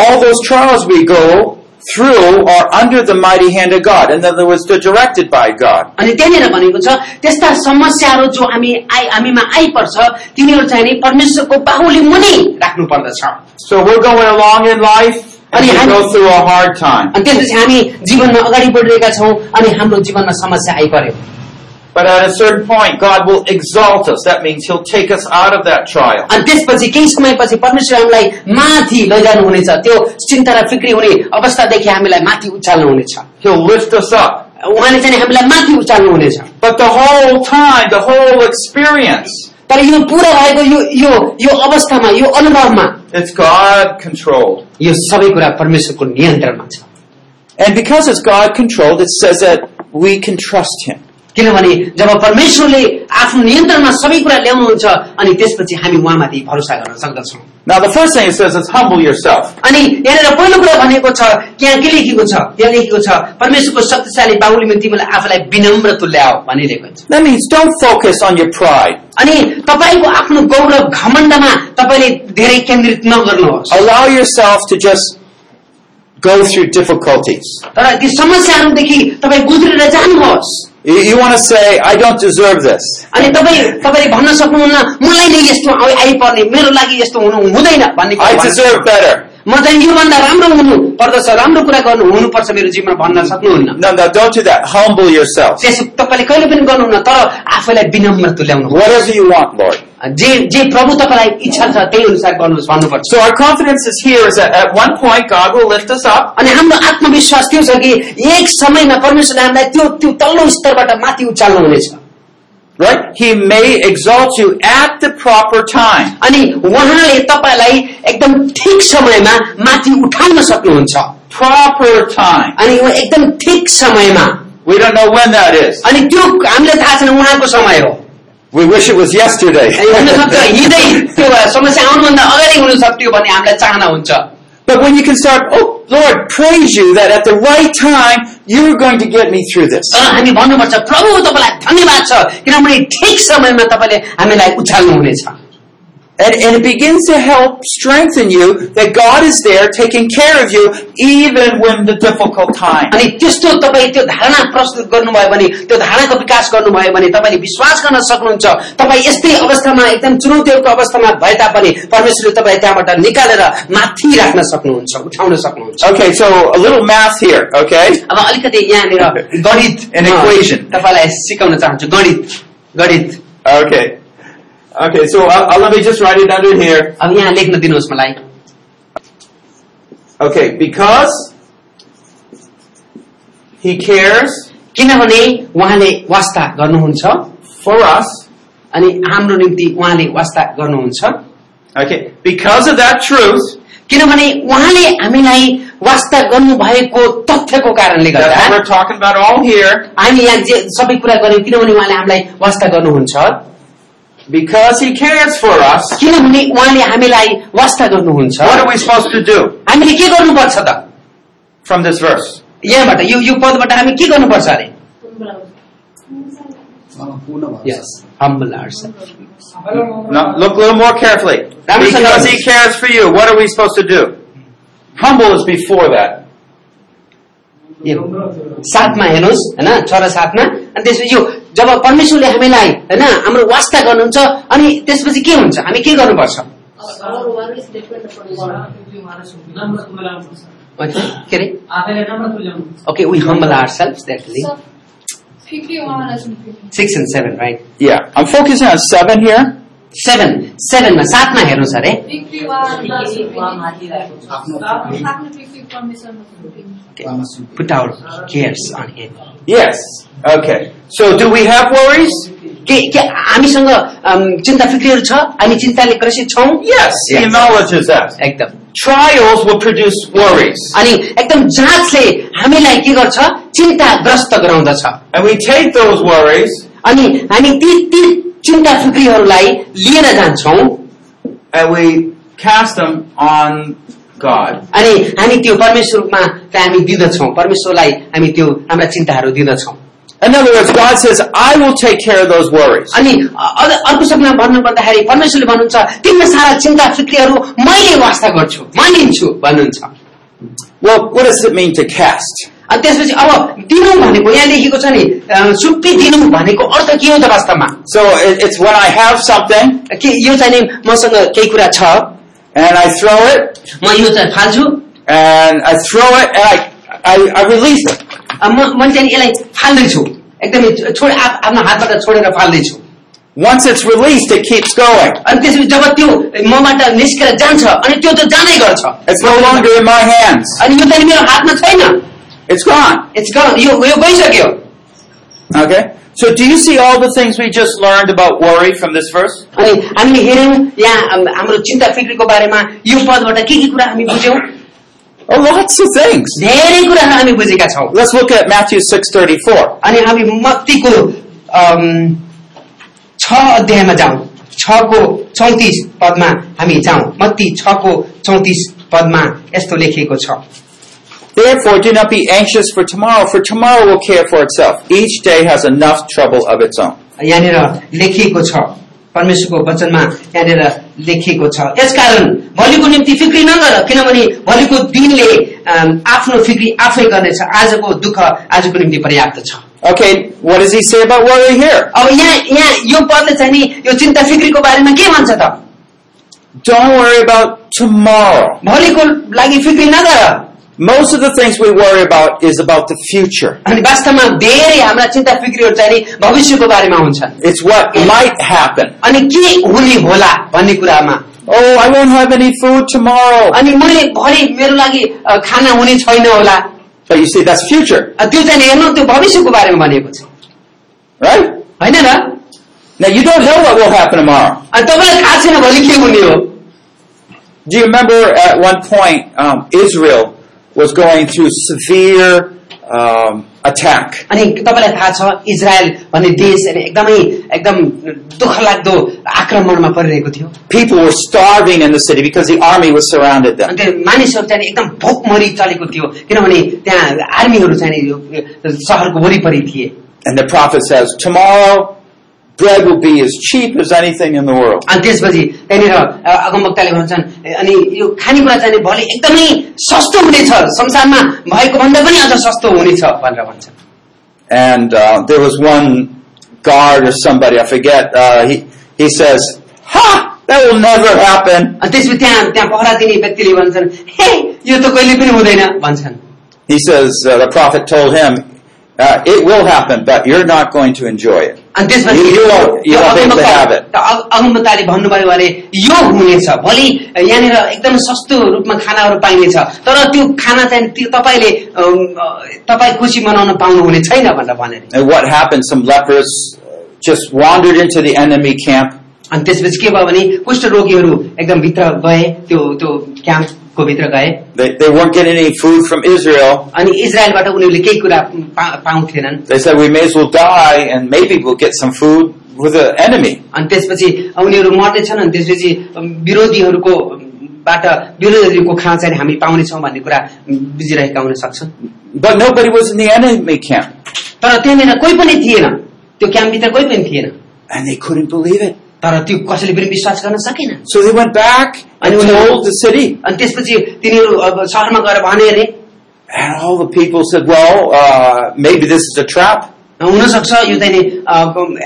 C: all those trials we go through are under the mighty hand of God. In other words, they're directed by God.
B: अनि त्यहाँनिर भनेको छ त्यस्ता समस्याहरू जो हामी आइ हामीमा आइपर्छ तिनीहरू चाहिँ नि परमेश्वरको बाहुली मुनि राख्नु पर्दछ
C: So we're going along in life and we go through a hard time.
B: अनि त्यसपछि हामी जीवनमा अगाडि बढिरहेका छौँ अनि हाम्रो जीवनमा समस्या आइपर्यो
C: But at a certain point, God will exalt us. That means he'll take us out of that trial.
B: अनि त्यसपछि केही समयपछि परमेश्वर हामीलाई माथि लैजानुहुनेछ त्यो चिन्ता र फिक्री हुने अवस्थादेखि हामीलाई माथि उचाल्नुहुनेछ
C: He'll lift us up.
B: उहाँले चाहिँ नि हामीलाई माथि उचाल्नुहुनेछ
C: But the whole time, the whole experience,
B: तर यो पूरा भएको यो यो यो अवस्थामा यो अनुभवमा
C: it's God controlled.
B: यो सबै कुरा परमेश्वरको नियन्त्रणमा छ
C: And because it's God controlled, it says that we can trust him.
B: किनभने जब परमेश्वरले आफ्नो नियन्त्रणमा सबै कुरा ल्याउनुहुन्छ अनि त्यसपछि हामी उहाँमाथि भरोसा गर्न सक्दछौँ
C: Now the first thing it says is humble yourself.
B: अनि यहाँनिर पहिलो कुरा भनेको छ यहाँ के लेखेको छ यहाँ लेखेको छ परमेश्वरको शक्तिशाली बाहुलीमा तिमीलाई आफूलाई विनम्र तुल्याओ भनिरहेको छ
C: That means don't focus on your pride.
B: अनि तपाईँको आफ्नो गौरव घमण्डमा तपाईँले धेरै केन्द्रित नगर्नुहोस्
C: Allow yourself to just go through difficulties.
B: तर ती समस्याहरूदेखि तपाईँ गुज्रेर जानुहोस्
C: You, you want to say, I don't deserve this.
B: अनि तपाईँ तपाईँले भन्न सक्नुहुन्न मलाई नै यस्तो आइ- आइपर्ने मेरो लागि यस्तो हुनु हुँदैन भन्ने कुरा
C: I
B: भन्नु
C: deserve better.
B: म चाहिँ योभन्दा राम्रो हुनु पर्दछ राम्रो कुरा गर्नु हुनुपर्छ मेरो जीवनमा भन्न सक्नुहुन्न
C: No, no, don't do that. Humble yourself.
B: त्यसो तपाईँले कहिले पनि गर्नुहुन्न तर आफैलाई विनम्र तुल्याउनु
C: Whatever you want, Lord.
B: जे जे प्रभु तपाईँलाई इच्छा छ त्यही अनुसार गर्नुहोस् भन्नुपर्छ
C: So our confidence is here is that at one point God will lift us up.
B: अनि हाम्रो आत्मविश्वास त्यो छ कि एक समयमा परमेश्वरले हामीलाई त्यो त्यो तल्लो स्तरबाट माथि उचाल्नुहुनेछ
C: Right? He may exalt you at the proper time.
B: अनि उहाँले तपाईँलाई एकदम ठिक समयमा माथि उठाउन सक्नुहुन्छ
C: Proper time.
B: अनि उहाँ एकदम ठिक समयमा
C: We don't know when that is.
B: अनि त्यो हामीलाई थाहा छैन उहाँको समय हो
C: We wish it was yesterday.
B: अनि
C: [LAUGHS]
B: हुनसक्छ हिँड्दै त्यो समस्या आउनुभन्दा अगाडि हुन सक्थ्यो भन्ने हामीलाई चाहना हुन्छ
C: But when you can start, oh Lord, praise you that at the right time you're going to get me through this.
B: तर हामी भन्नुपर्छ प्रभु तपाईँलाई धन्यवाद छ किनभने ठिक समयमा तपाईँले हामीलाई उचाल्नुहुनेछ
C: And, and it begins to help strengthen you that God is there taking care of you even when the difficult time.
B: अनि त्यस्तो तपाईँ त्यो धारणा प्रस्तुत गर्नुभयो भने त्यो धारणाको विकास गर्नुभयो भने तपाईँले विश्वास गर्न सक्नुहुन्छ तपाईँ यस्तै अवस्थामा एकदम चुनौतीहरूको अवस्थामा भए तापनि परमेश्वरले तपाईँ त्यहाँबाट निकालेर माथि राख्न सक्नुहुन्छ उठाउन सक्नुहुन्छ
C: Okay, so a little math here, okay?
B: अब अलिकति यहाँनिर गणित
C: An equation.
B: तपाईँलाई सिकाउन चाहन्छु गणित गणित
C: Okay. Okay, so I'll, I'll- let me just write it under here.
B: अब यहाँ लेख्न दिनुहोस् मलाई
C: Okay, because He cares
B: किनभने उहाँले वास्ता गर्नुहुन्छ
C: for us,
B: अनि हाम्रो निम्ति उहाँले वास्ता गर्नुहुन्छ
C: Okay, because of that truth,
B: किनभने उहाँले हामीलाई वास्ता गर्नु भएको तथ्यको कारणले गर्दा
C: that's what we're talking about all here,
B: हामी यहाँ जे सबै कुरा गर्यौँ किनभने उहाँले हामीलाई वास्ता गर्नुहुन्छ
C: because He cares for us,
B: किनभने उहाँले हामीलाई वास्ता गर्नुहुन्छ
C: what are we supposed to do
B: हामीले के गर्नुपर्छ त
C: from this verse?
B: यहाँबाट यो यो पदबाट हामी के गर्नुपर्छ अरे yes humble
C: No, look a little more carefully.
B: That was
C: Because
B: another-
C: He cares for you, what are we supposed to do? Humble is before that.
B: सातमा हेर्नुहोस् होइन छ र सातमा अनि त्यसपछि यो जब परमेश्वरले हामीलाई होइन हाम्रो वास्ता गर्नुहुन्छ अनि त्यसपछि के हुन्छ हामी के गर्नुपर्छ
E: Our work is depend upon God.
B: के अरे okay we humble our self द्याटली
E: So, quickly one lesson quickly.
B: Six and seven right
C: Yeah, I'm focusing on seven here.
B: Seven सेभेनमा सातमा हेर्नुहोस् अरे
E: Quickly one lesson quickly.
F: आफ्नो
E: आफ्नो quickly permission
B: put our cares on him.
C: Yes. Okay. So do we have worries?
B: के के हामीसँग अम, चिन्ता फिक्रीहरू छ हामी चिन्ताले ग्रसित छौँ
C: Yes, He
B: Yes.
C: acknowledges that.
B: एकदम
C: Trials will produce worries.
B: अनि एकदम जाँचले हामीलाई के गर्छ चिन्ताग्रस्त गराउँदछ
C: And we take those worries
B: अनि हामी ती ती चिन्ता फिक्रीहरूलाई लिएर जान्छौं
C: and we cast them on God.
B: अनि हामी त्यो परमेश्वरमा त्यहाँ हामी दिँदछौँ परमेश्वरलाई हामी त्यो हाम्रा चिन्ताहरू दिँदछौँ
C: In other words, God says, I will take care of those worries.
B: अनि अ- अझ अर्को शब्दमा भन्नु पर्दाखेरि परमेश्वरले भन्नुहुन्छ तिम्रो सारा चिन्ता फिक्रीहरू मैले वास्ता गर्छु म लिन्छु भन्नुहुन्छ
C: Well, what does it mean to cast?
B: अनि त्यसपछि अब दिनु भनेको यहाँ लेखेको छ नि अ, सुम्पी दिनु भनेको अर्थ के हो त वास्तवमा
C: So it, it's when I have something
B: के यो चाहिँ नि मसँग केही कुरा छ
C: and I throw it
B: म यो चाहिँ फाल्छु
C: and I throw it and I, I, I release it.
B: अ, म मैले चाहिँ नि यसलाई फाल्दैछु एकदमै छोड आप- आफ्नो हातबाट छोडेर फाल्दैछु
C: Once it's released, it keeps going.
B: अनि त्यसपछि जब त्यो मबाट निस्केर जान्छ अनि त्यो त जानै गर्छ
C: It's no longer in my hands.
B: अनि यो चाहिँ नि मेरो हातमा छैन
C: It's gone.
B: It's gone. यो यो गइसक्यो
C: Okay? So do you see all the things we just learned about worry from this verse?
B: अनि हामीले हेऱ्यौँ यहाँ हाम- हाम्रो चिन्ता फिक्रीको बारेमा यो पदबाट के के कुरा हामी बुझ्यौँ
C: Oh, lots of things.
B: धेरै कुराहरू हामी बुझेका छौँ
C: Let's look at Matthew 6:34.
B: अनि हामी मत्तीको अम, छ अध्यायमा जाउँ छको चौतिस पदमा हामी जाउँ मत्ती छको चौतिस पदमा यस्तो लेखिएको छ
C: Therefore, do not be anxious for tomorrow, for tomorrow will care for itself. Each day has enough trouble of its own.
B: यहाँनिर लेखिएको छ परमेश्वरको वचनमा यहाँनिर लेखिएको छ यसकारण भोलिको निम्ति फिक्री नगर किनभने भोलिको दिनले अम, आफ्नो फिक्री आफै गर्नेछ आजको दुःख आजको निम्ति पर्याप्त छ
C: Okay, what does he say about worry here?
B: अब यहाँ यहाँ यो पदले चाहिँ नि यो चिन्ता फिक्रीको बारेमा के भन्छ त
C: Don't worry about tomorrow.
B: भोलिको लागि फिक्री नगर
C: Most of the things we worry about is about the future.
B: अनि वास्तवमा धेरै हाम्रा चिन्ता फिक्रीहरू चाहिँ नि भविष्यको बारेमा हुन्छन्
C: It's what might happen.
B: अनि के हुने होला भन्ने कुरामा
C: Oh, I won't have any food tomorrow.
B: अनि मैले भरे मेरो लागि अ, खाना हुने छैन होला
C: But you see, that's future,
B: अ, त्यो चाहिँ नि हेर्नु त्यो भविष्यको बारेमा भनेको छ
C: right?
B: होइन र
C: Now you don't know what will happen tomorrow.
B: अनि तपाईँलाई थाहा छैन भोलि के हुने हो
C: Do you remember at one point um, Israel was going through severe um, attack?
B: अनि तपाईँलाई थाहा छ इजरायल भन्ने देश अनि एकदमै एकदम दुःख लाग्दो आक्रमणमा परिरहेको थियो
C: People were starving in the city because the army was surrounded them.
B: अनि त्यो मानिसहरू चाहिँ नि एकदम भोकमरी चलेको थियो किनभने त्यहाँ आर्मीहरू चाहिँ नि यो सहरको वरिपरि थिए
C: And the prophet says, Tomorrow bread will be as cheap as anything in the world.
B: अनि त्यसपछि त्यहाँनिर अ, अगमवक्ताले भन्छन् ए, अनि यो खानेकुरा चाहिँ नि भोलि एकदमै सस्तो हुनेछ संसारमा भएको भन्दा पनि अझ सस्तो हुनेछ भनेर भन्छन्
C: And uh, there was one guard or somebody, I forget, uh, he, he says, Ha! That will never happen.
B: अनि त्यसपछि त्यहाँ त्यहाँ पहरा दिने व्यक्तिले भन्छन् हे यो त कहिले पनि हुँदैन भन्छन्
C: He says, uh, The prophet told him, uh, It will happen, but you're not going to enjoy it.
B: अनि त्यसपछि
C: You- you won't- you
B: yo
C: won't be able to
B: अगमवक्ता-
C: have it.
B: अग- अगमवक्ताले भन्नुभयो भने यो हुनेछ भोलि यहाँनिर एकदम सस्तो रूपमा खानाहरू पाइनेछ तर त्यो खाना चाहिँ त्यो तपाईँले अम, अ, तपाईँ खुसी मनाउन पाउनुहुने छैन भनेर भनेर
C: And what happened? Some lepers just wandered into the enemy camp.
B: अनि त्यसपछि के भयो भने कुष्ठ रोगीहरू एकदम भित्र गए त्यो त्यो क्याम्पको भित्र गए
C: They, they weren't getting any food from Israel.
B: अनि इजरायलबाट उनीहरूले केही कुरा पा- पाउँथेनन्
C: They said, we may as well die and maybe we'll get some food with the enemy.
B: अनि त्यसपछि उनीहरू मर्दैछन् अनि त्यसपछि विरोधीहरूको बाट विरोधीहरूको खाँ चाहिँ हामी पाउनेछौँ भन्ने कुरा बुझिरहेका हुन सक्छन्
C: But nobody was in the enemy camp.
B: तर त्यहाँनिर कोही पनि थिएन त्यो क्याम्पभित्र कोही पनि थिएन
C: And they couldn't believe it.
B: तर त्यो कसैले पनि विश्वास गर्न सकेन
C: So they went back and told the city.
B: अनि त्यसपछि तिनीहरू अब सहरमा गएर भने अरे
C: And all the people said, well, uh, maybe this is a trap.
B: हुनसक्छ यो चाहिँ नि, अ,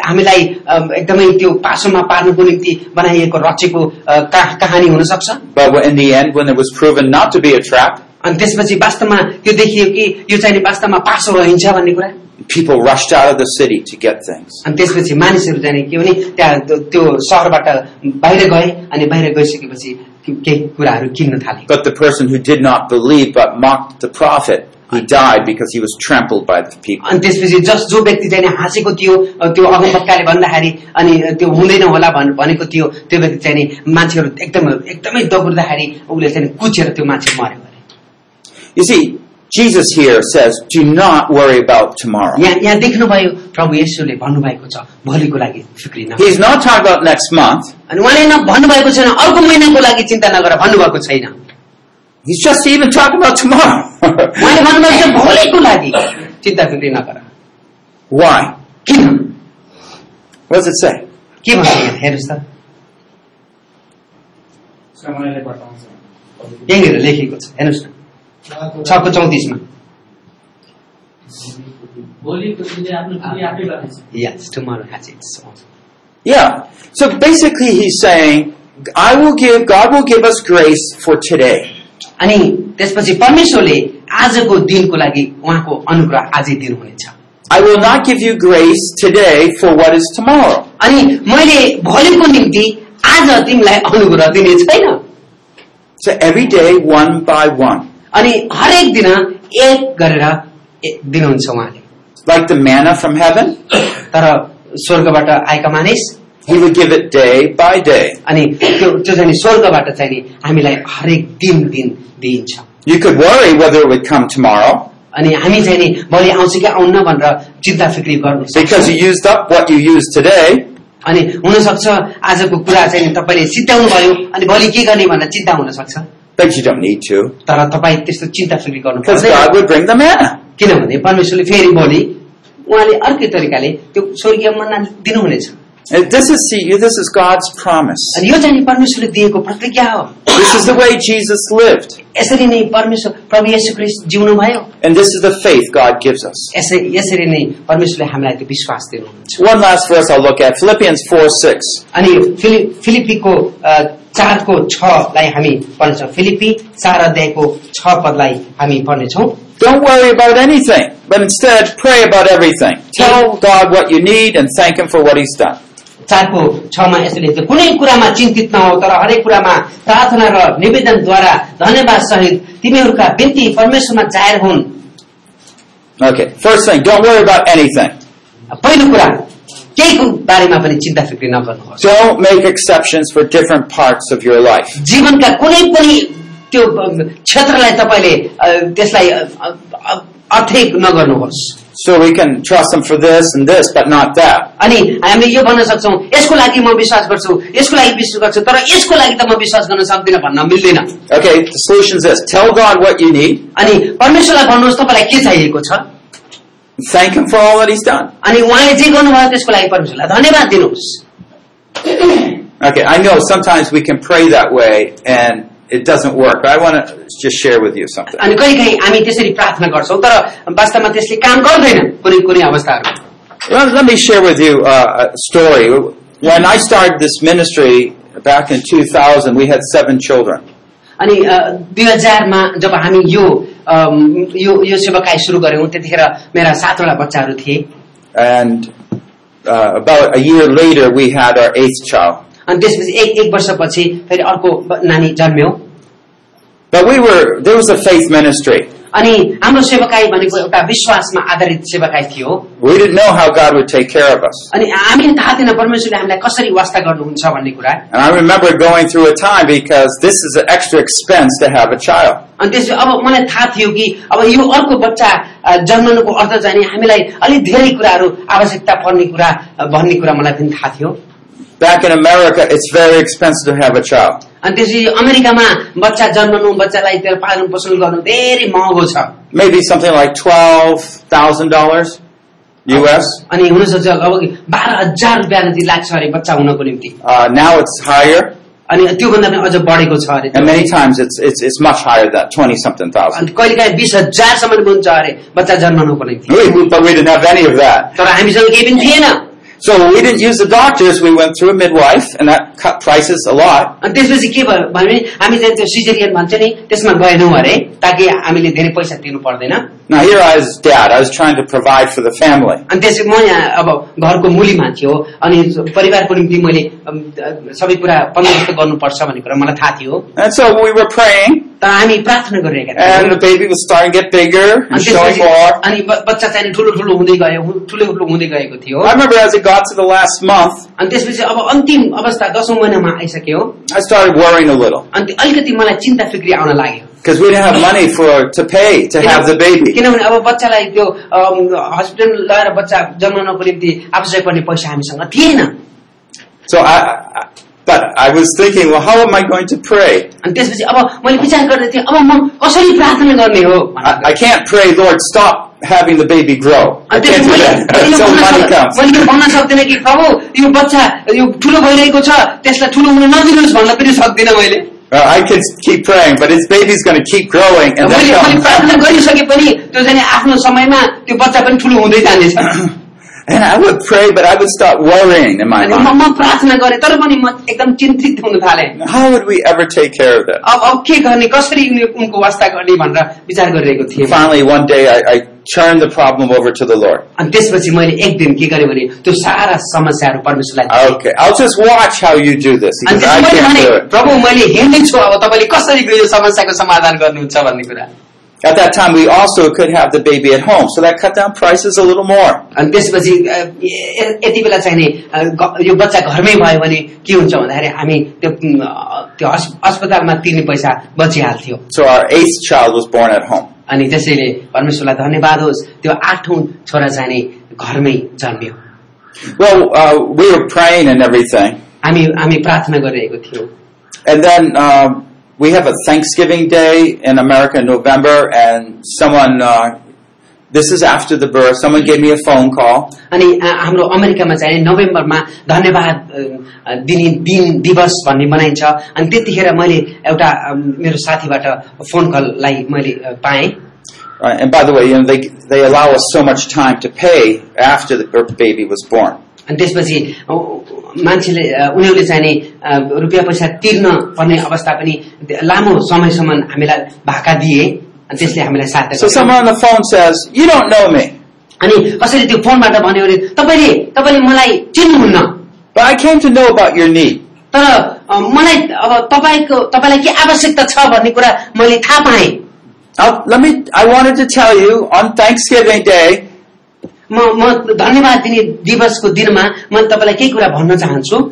B: हामीलाई अ, एकदमै त्यो पासोमा पार्नुको निम्ति बनाइएको रचेको अ, का- कहानी हुनसक्छ
C: But in the end, when it was proven not to be a trap,
B: अनि त्यसपछि वास्तवमा त्यो देखियो कि यो चाहिँ नि वास्तवमा पासो रहन्छ भन्ने कुरा
C: people rushed out of the city to get things.
B: अनि त्यसपछि मानिसहरू जाने के भने त्यहाँ त्यो- त्यो सहरबाट बाहिर गए अनि बाहिर गइसकेपछि के- केही कुराहरू किन्न थाले
C: But the person who did not believe but mocked the prophet, he died because he was trampled by the people.
B: अनि त्यसपछि जस जो व्यक्ति चाहिँ नि हाँसेको थियो अ, त्यो अगमबक्काले भन्दाखेरि अनि त्यो हुँदैन होला भन्- भनेको थियो त्यो व्यक्ति चाहिँ नि मान्छेहरू एकदम एकदमै दगुर्दाखेरि उसले चाहिँ नि कुचेर त्यो मान्छे मर्यो अरे
C: You see, Jesus here says, do not worry about tomorrow.
B: यहाँ यहाँ देख्नुभयो प्रभु येशूले भन्नुभएको छ भोलिको लागि फिक्रिन
C: He's not talking about next month.
B: अनि उहाँले न भन्नुभएको छैन अर्को महिनाको लागि चिन्ता नगर भन्नुभएको छैन
C: He's just even talking about tomorrow. [LAUGHS]
B: उहाँले भन्नुभएको छ भोलिको लागि चिन्ता फिक्री नगर
C: Why? [CLEARS THROAT]
B: किन
C: What does it say?
B: के भन्छ यहाँ हेर्नुहोस् त
F: समयले बताउँछ
B: यहाँनिर लेखेको छ हेर्नुहोस् न छको चौतिसमा
F: भोलिको दिनले आफ्नो भोलि आफै बताउँछ
B: यस tomorrow has its own
C: Yeah. So basically he's saying, I will give, God will give us grace for today.
B: अनि त्यसपछि परमेश्वरले आजको दिनको लागि उहाँको अनुग्रह आजै दिनुहुनेछ
C: I will not give you grace today for what is tomorrow.
B: अनि मैले भोलिको निम्ति आज तिमीलाई अनुग्रह दिने छैन
C: So every day, one by one.
B: अनि हरेक दिन एक गरेर ए- दिनुहुन्छ उहाँले
C: Like the manna from heaven,
B: तर स्वर्गबाट आएका मानिस
C: he would give it day by day.
B: अनि त्यो त्यो चाहिँ नि स्वर्गबाट चाहिँ नि हामीलाई हरेक दिन दिन दिइन्छ
C: You could worry whether it would come tomorrow
B: अनि हामी चाहिँ नि भोलि आउँछ कि आउन्न भनेर चिन्ता फिक्री गर्नु
C: because you used up what you used today.
B: अनि हुनसक्छ आजको कुरा चाहिँ नि तपाईँले सिद्ध्याउनु भयो अनि भोलि के गर्ने भनेर चिन्ता हुन सक्छ
C: But you don't need to
B: तर तपाईँ त्यस्तो चिन्ता फिक्री गर्नु
C: because God
B: पर्दैन
C: would bring the manna.
B: किनभने परमेश्वरले फेरि भोलि उहाँले अर्कै तरिकाले त्यो स्वर्गीय मन्ना दिनुहुनेछ
C: And This is see, this is God's promise.
B: अनि यो चाहिँ नि परमेश्वरले दिएको प्रतिज्ञा हो
C: This is the way Jesus lived,
B: यसरी नै परमेश्वर प्रभु येशू ख्रिस्ट जिउनु भयो
C: and this is the faith God gives us.
B: यसै यसरी नै परमेश्वरले हामीलाई त्यो विश्वास दिनुहुन्छ
C: One last verse I'll look at Philippians four six.
B: अनि फिलि फिलिपीको अ, चारको छलाई हामी पढ्नेछौँ फिलिपी चार अध्यायको छ पदलाई हामी पढ्नेछौँ
C: Don't worry about anything, but instead pray about everything. Tell God what you need and thank Him for what He's done.
B: चारको छमा यसो लेख्छ कुनै कुरामा चिन्तित नहो तर हरेक कुरामा प्रार्थना र निवेदनद्वारा धन्यवाद सहित तिमीहरूका व्यक्ति परमेश्वरमा जाहेर हुन्
C: Okay, first thing, don't worry about anything.
B: पहिलो कुरा केहीको बारेमा पनि चिन्ता फिक्री नगर्नुहोस्
C: Don't make exceptions for different parts of your life.
B: जीवनका कुनै पनि त्यो अ, क्षेत्रलाई तपाईँले अ, त्यसलाई अ, अ, अर्थै नगर्नुहोस्
C: So we can trust Him for this and this, but not that.
B: अनि हामीले यो भन्न सक्छौ यसको लागि म विश्वास गर्छु यसको लागि विश्वास गर्छु तर यसको लागि त म विश्वास गर्न सक्दिनँ भन्न मिल्दैन
C: Okay, the solution is this. Tell God what you need,
B: अनि परमेश्वरलाई भन्नुहोस् तपाईँलाई के चाहिएको छ
C: thank Him for all that He's done.
B: अनि उहाँले जे गर्नुभयो त्यसको लागि परमेश्वरलाई धन्यवाद दिनुहोस्
C: Okay, I know sometimes we can pray that way and it doesn't work, but I want to just share with you something.
B: अनि कहिलेकाहीँ हामी त्यसरी प्रार्थना गर्छौँ तर वास्तवमा त्यसले काम गर्दैन कुनै कुनै अवस्थाहरू
C: Well, let me share with you uh, a story. When I started this ministry back in 2000, we had seven children.
B: अनि दुई हजारमा जब हामी यो अम, यो यो सेवाकाय सुरु गऱ्यौँ त्यतिखेर मेरा सातवटा बच्चाहरू थिए
C: And uh, about a year later, we had our eighth child.
B: अनि त्यसपछि एक एक वर्षपछि फेरि अर्को ब- नानी जन्म्यौ
C: But we were, there was a faith ministry.
B: अनि हाम्रो सेवकाई भनेको एउटा विश्वासमा आधारित सेवकाई थियो
C: We didn't know how God would take care of us.
B: अनि हामीले थाहा थिएन परमेश्वरले हामीलाई कसरी वास्ता गर्नुहुन्छ भन्ने कुरा
C: And I remember going through a time because this is an extra expense to have a child.
B: अनि त्यसपछि अब मलाई थाहा थियो कि अब यो अर्को बच्चा अ, जन्मनुको अर्थ जाने हामीलाई अलिक धेरै कुराहरू आवश्यकता पर्ने कुरा अ, भन्ने कुरा मलाई पनि थाहा थियो
C: Back in America, it's very expensive to have a child.
B: अनि त्यसपछि अमेरिकामा बच्चा जन्मनु बच्चालाई त्यो पालन पोषण गर्नु धेरै महँगो छ
C: Maybe something like $12,000 US.
B: अनि हुनसक्छ अब बाह्र हजार रुपियाँ जति लाग्छ अरे बच्चा हुनको निम्ति
C: Uh, now it's higher,
B: अनि त्योभन्दा पनि अझ बढेको छ अरे
C: and many times it's, it's, it's much higher than 20 something thousand.
B: अनि कहिले काहीँ बिस हजारसम्म पनि हुन्छ अरे बच्चा जन्मनुको निम्ति
C: We, but we didn't have any of that.
B: तर हामीसँग केही पनि थिएन
C: So we didn't use the doctors, we went through a midwife, and that cut prices a lot.
B: अनि त्यसपछि के भयो भने हामी चाहिँ त्यो सिजेरियन भन्छ नि त्यसमा गएनौँ अरे ताकि हामीले धेरै पैसा तिर्नु पर्दैन
C: Now here I was dad, I was trying to provide for the family.
B: अनि त्यसपछि म यहाँ अब घरको मुली मान्छे हो अनि परिवारको निम्ति मैले अम, अ, सबै कुरा बन्दोबस्त गर्नुपर्छ भन्ने कुरा मलाई थाहा थियो
C: And so we were praying,
B: तर हामी प्रार्थना गरिरहेका थियौँ
C: and the baby was starting to get bigger and
B: अनि
C: showing
B: त्यसपछि-
C: more.
B: अनि ब- बच्चा चाहिँ ठुलो ठुलो हुँदै गयो हु- ठुलो ठुलो हुँदै गएको थियो
C: I remember as it got to the last month,
B: अनि त्यसपछि अब अन्तिम अवस्था दसौँ महिनामा आइसक्यो
C: I started worrying a little
B: अनि त्यो अलिकति मलाई चिन्ता फिक्री आउन लाग्यो
C: because we didn't have money for to pay to have the
B: किनभने
C: baby.
B: किनभने अब बच्चालाई त्यो अम, हस्पिटल लगेर बच्चा जन्माउनको निम्ति आवश्यक पर्ने पैसा हामीसँग थिएन
C: So I, I but I was thinking, well, how am I going to pray?
B: अनि त्यसपछि अब मैले विचार गर्दै थिएँ अब म कसरी प्रार्थना गर्ने हो भनेर।
C: I, I can't pray, Lord, stop having the baby grow. I
B: अनि
C: can't
B: त्यसपछि
C: do
B: मैले
C: that
B: मैले
C: [LAUGHS] until money
B: यो भन्न सक्-
C: comes.
B: मैले यो भन्न सक्दिनँ कि प्रभु यो बच्चा यो ठुलो भइरहेको छ त्यसलाई ठुलो हुन नदिनुहोस् भन्न पनि सक्दिनँ मैले
C: Uh, I can keep praying, but his baby's going to keep growing and
B: मैले मैले
C: then
B: प्रार्थना
C: come.
B: गरिसके पनि त्यो चाहिँ आफ्नो समयमा त्यो बच्चा पनि ठुलो हुँदै जानेछ
C: [LAUGHS] And I would pray, but I would start worrying in my
B: अनि म
C: mind.
B: म प्रार्थना गरेँ तर पनि म एकदम चिन्तित हुन थालेँ
C: How would we ever take care of that?
B: अब अब के गर्ने कसरी उनी- उनको वास्ता गर्ने भनेर विचार गरिरहेको थिएँ
C: Finally, one day, I, I turned the problem over to the Lord.
B: अनि त्यसपछि मैले एक दिन के गरेँ भने त्यो सारा समस्याहरू परमेश्वरलाई दिएँ।
C: Okay, I'll just watch how you do this
B: अनि
C: because I
B: त्यसपछि
C: can't
B: मैले भने
C: do it.
B: प्रभु मैले हेर्नेछु अब तपाईँले कसरी यो समस्याको समाधान गर्नुहुन्छ भन्ने कुरा
C: At that time, we also could have the baby at home, so that cut down prices a little more.
B: अनि त्यसपछि अ, य- यति बेला चाहिँ नि अ, ग- यो बच्चा घरमै भयो भने के हुन्छ भन्दाखेरि हामी त्यो अ, त्यो हस्- अस्पतालमा तिर्ने पैसा बचिहाल्थ्यो
C: So our eighth child was born at home.
B: अनि त्यसैले परमेश्वरलाई धन्यवाद होस् त्यो आठौं छोरा चाहिँ नि घरमै जन्मियो
C: Well, uh, we were praying and everything,
B: हामी हामी प्रार्थना गरिरहेको थियौँ
C: and then um, we have a Thanksgiving Day in America in November, and someone. Uh, this is after the birth. Someone gave me a phone call,
B: अनि अ- हाम्रो अमेरिकामा चाहिँ नोभेम्बरमा धन्यवाद अ, दिने दिन दिवस भन्ने मनाइन्छ अनि त्यतिखेर मैले एउटा अम, मेरो साथीबाट फोन कललाई मैले अ, पाएँ
C: uh, and by the way, you know they they allow us so much time to pay after the birth baby was born.
B: अनि त्यसपछि अ, मान्छेले अ, उनीहरूले चाहिँ नि अ, रुपियाँ पैसा तिर्न पर्ने अवस्था पनि लामो समयसम्म हामीलाई भाका दिए अनि त्यसले हामीलाई साथ
C: So someone on the phone says, "You don't know me,
B: अनि कसैले त्यो फोनबाट भन्यो भने तपाईँले तपाईँले मलाई चिन्नुहुन्न
C: but I came to know about your need."
B: तर अ, मलाई अब तपाईँको तपाईँलाई के आवश्यकता छ भन्ने कुरा मैले थाहा पाएँ
C: I'll, let me. I wanted to tell you on Thanksgiving Day,
B: म म धन्यवाद दिने दिवसको दिनमा म तपाईँलाई केही कुरा भन्न चाहन्छु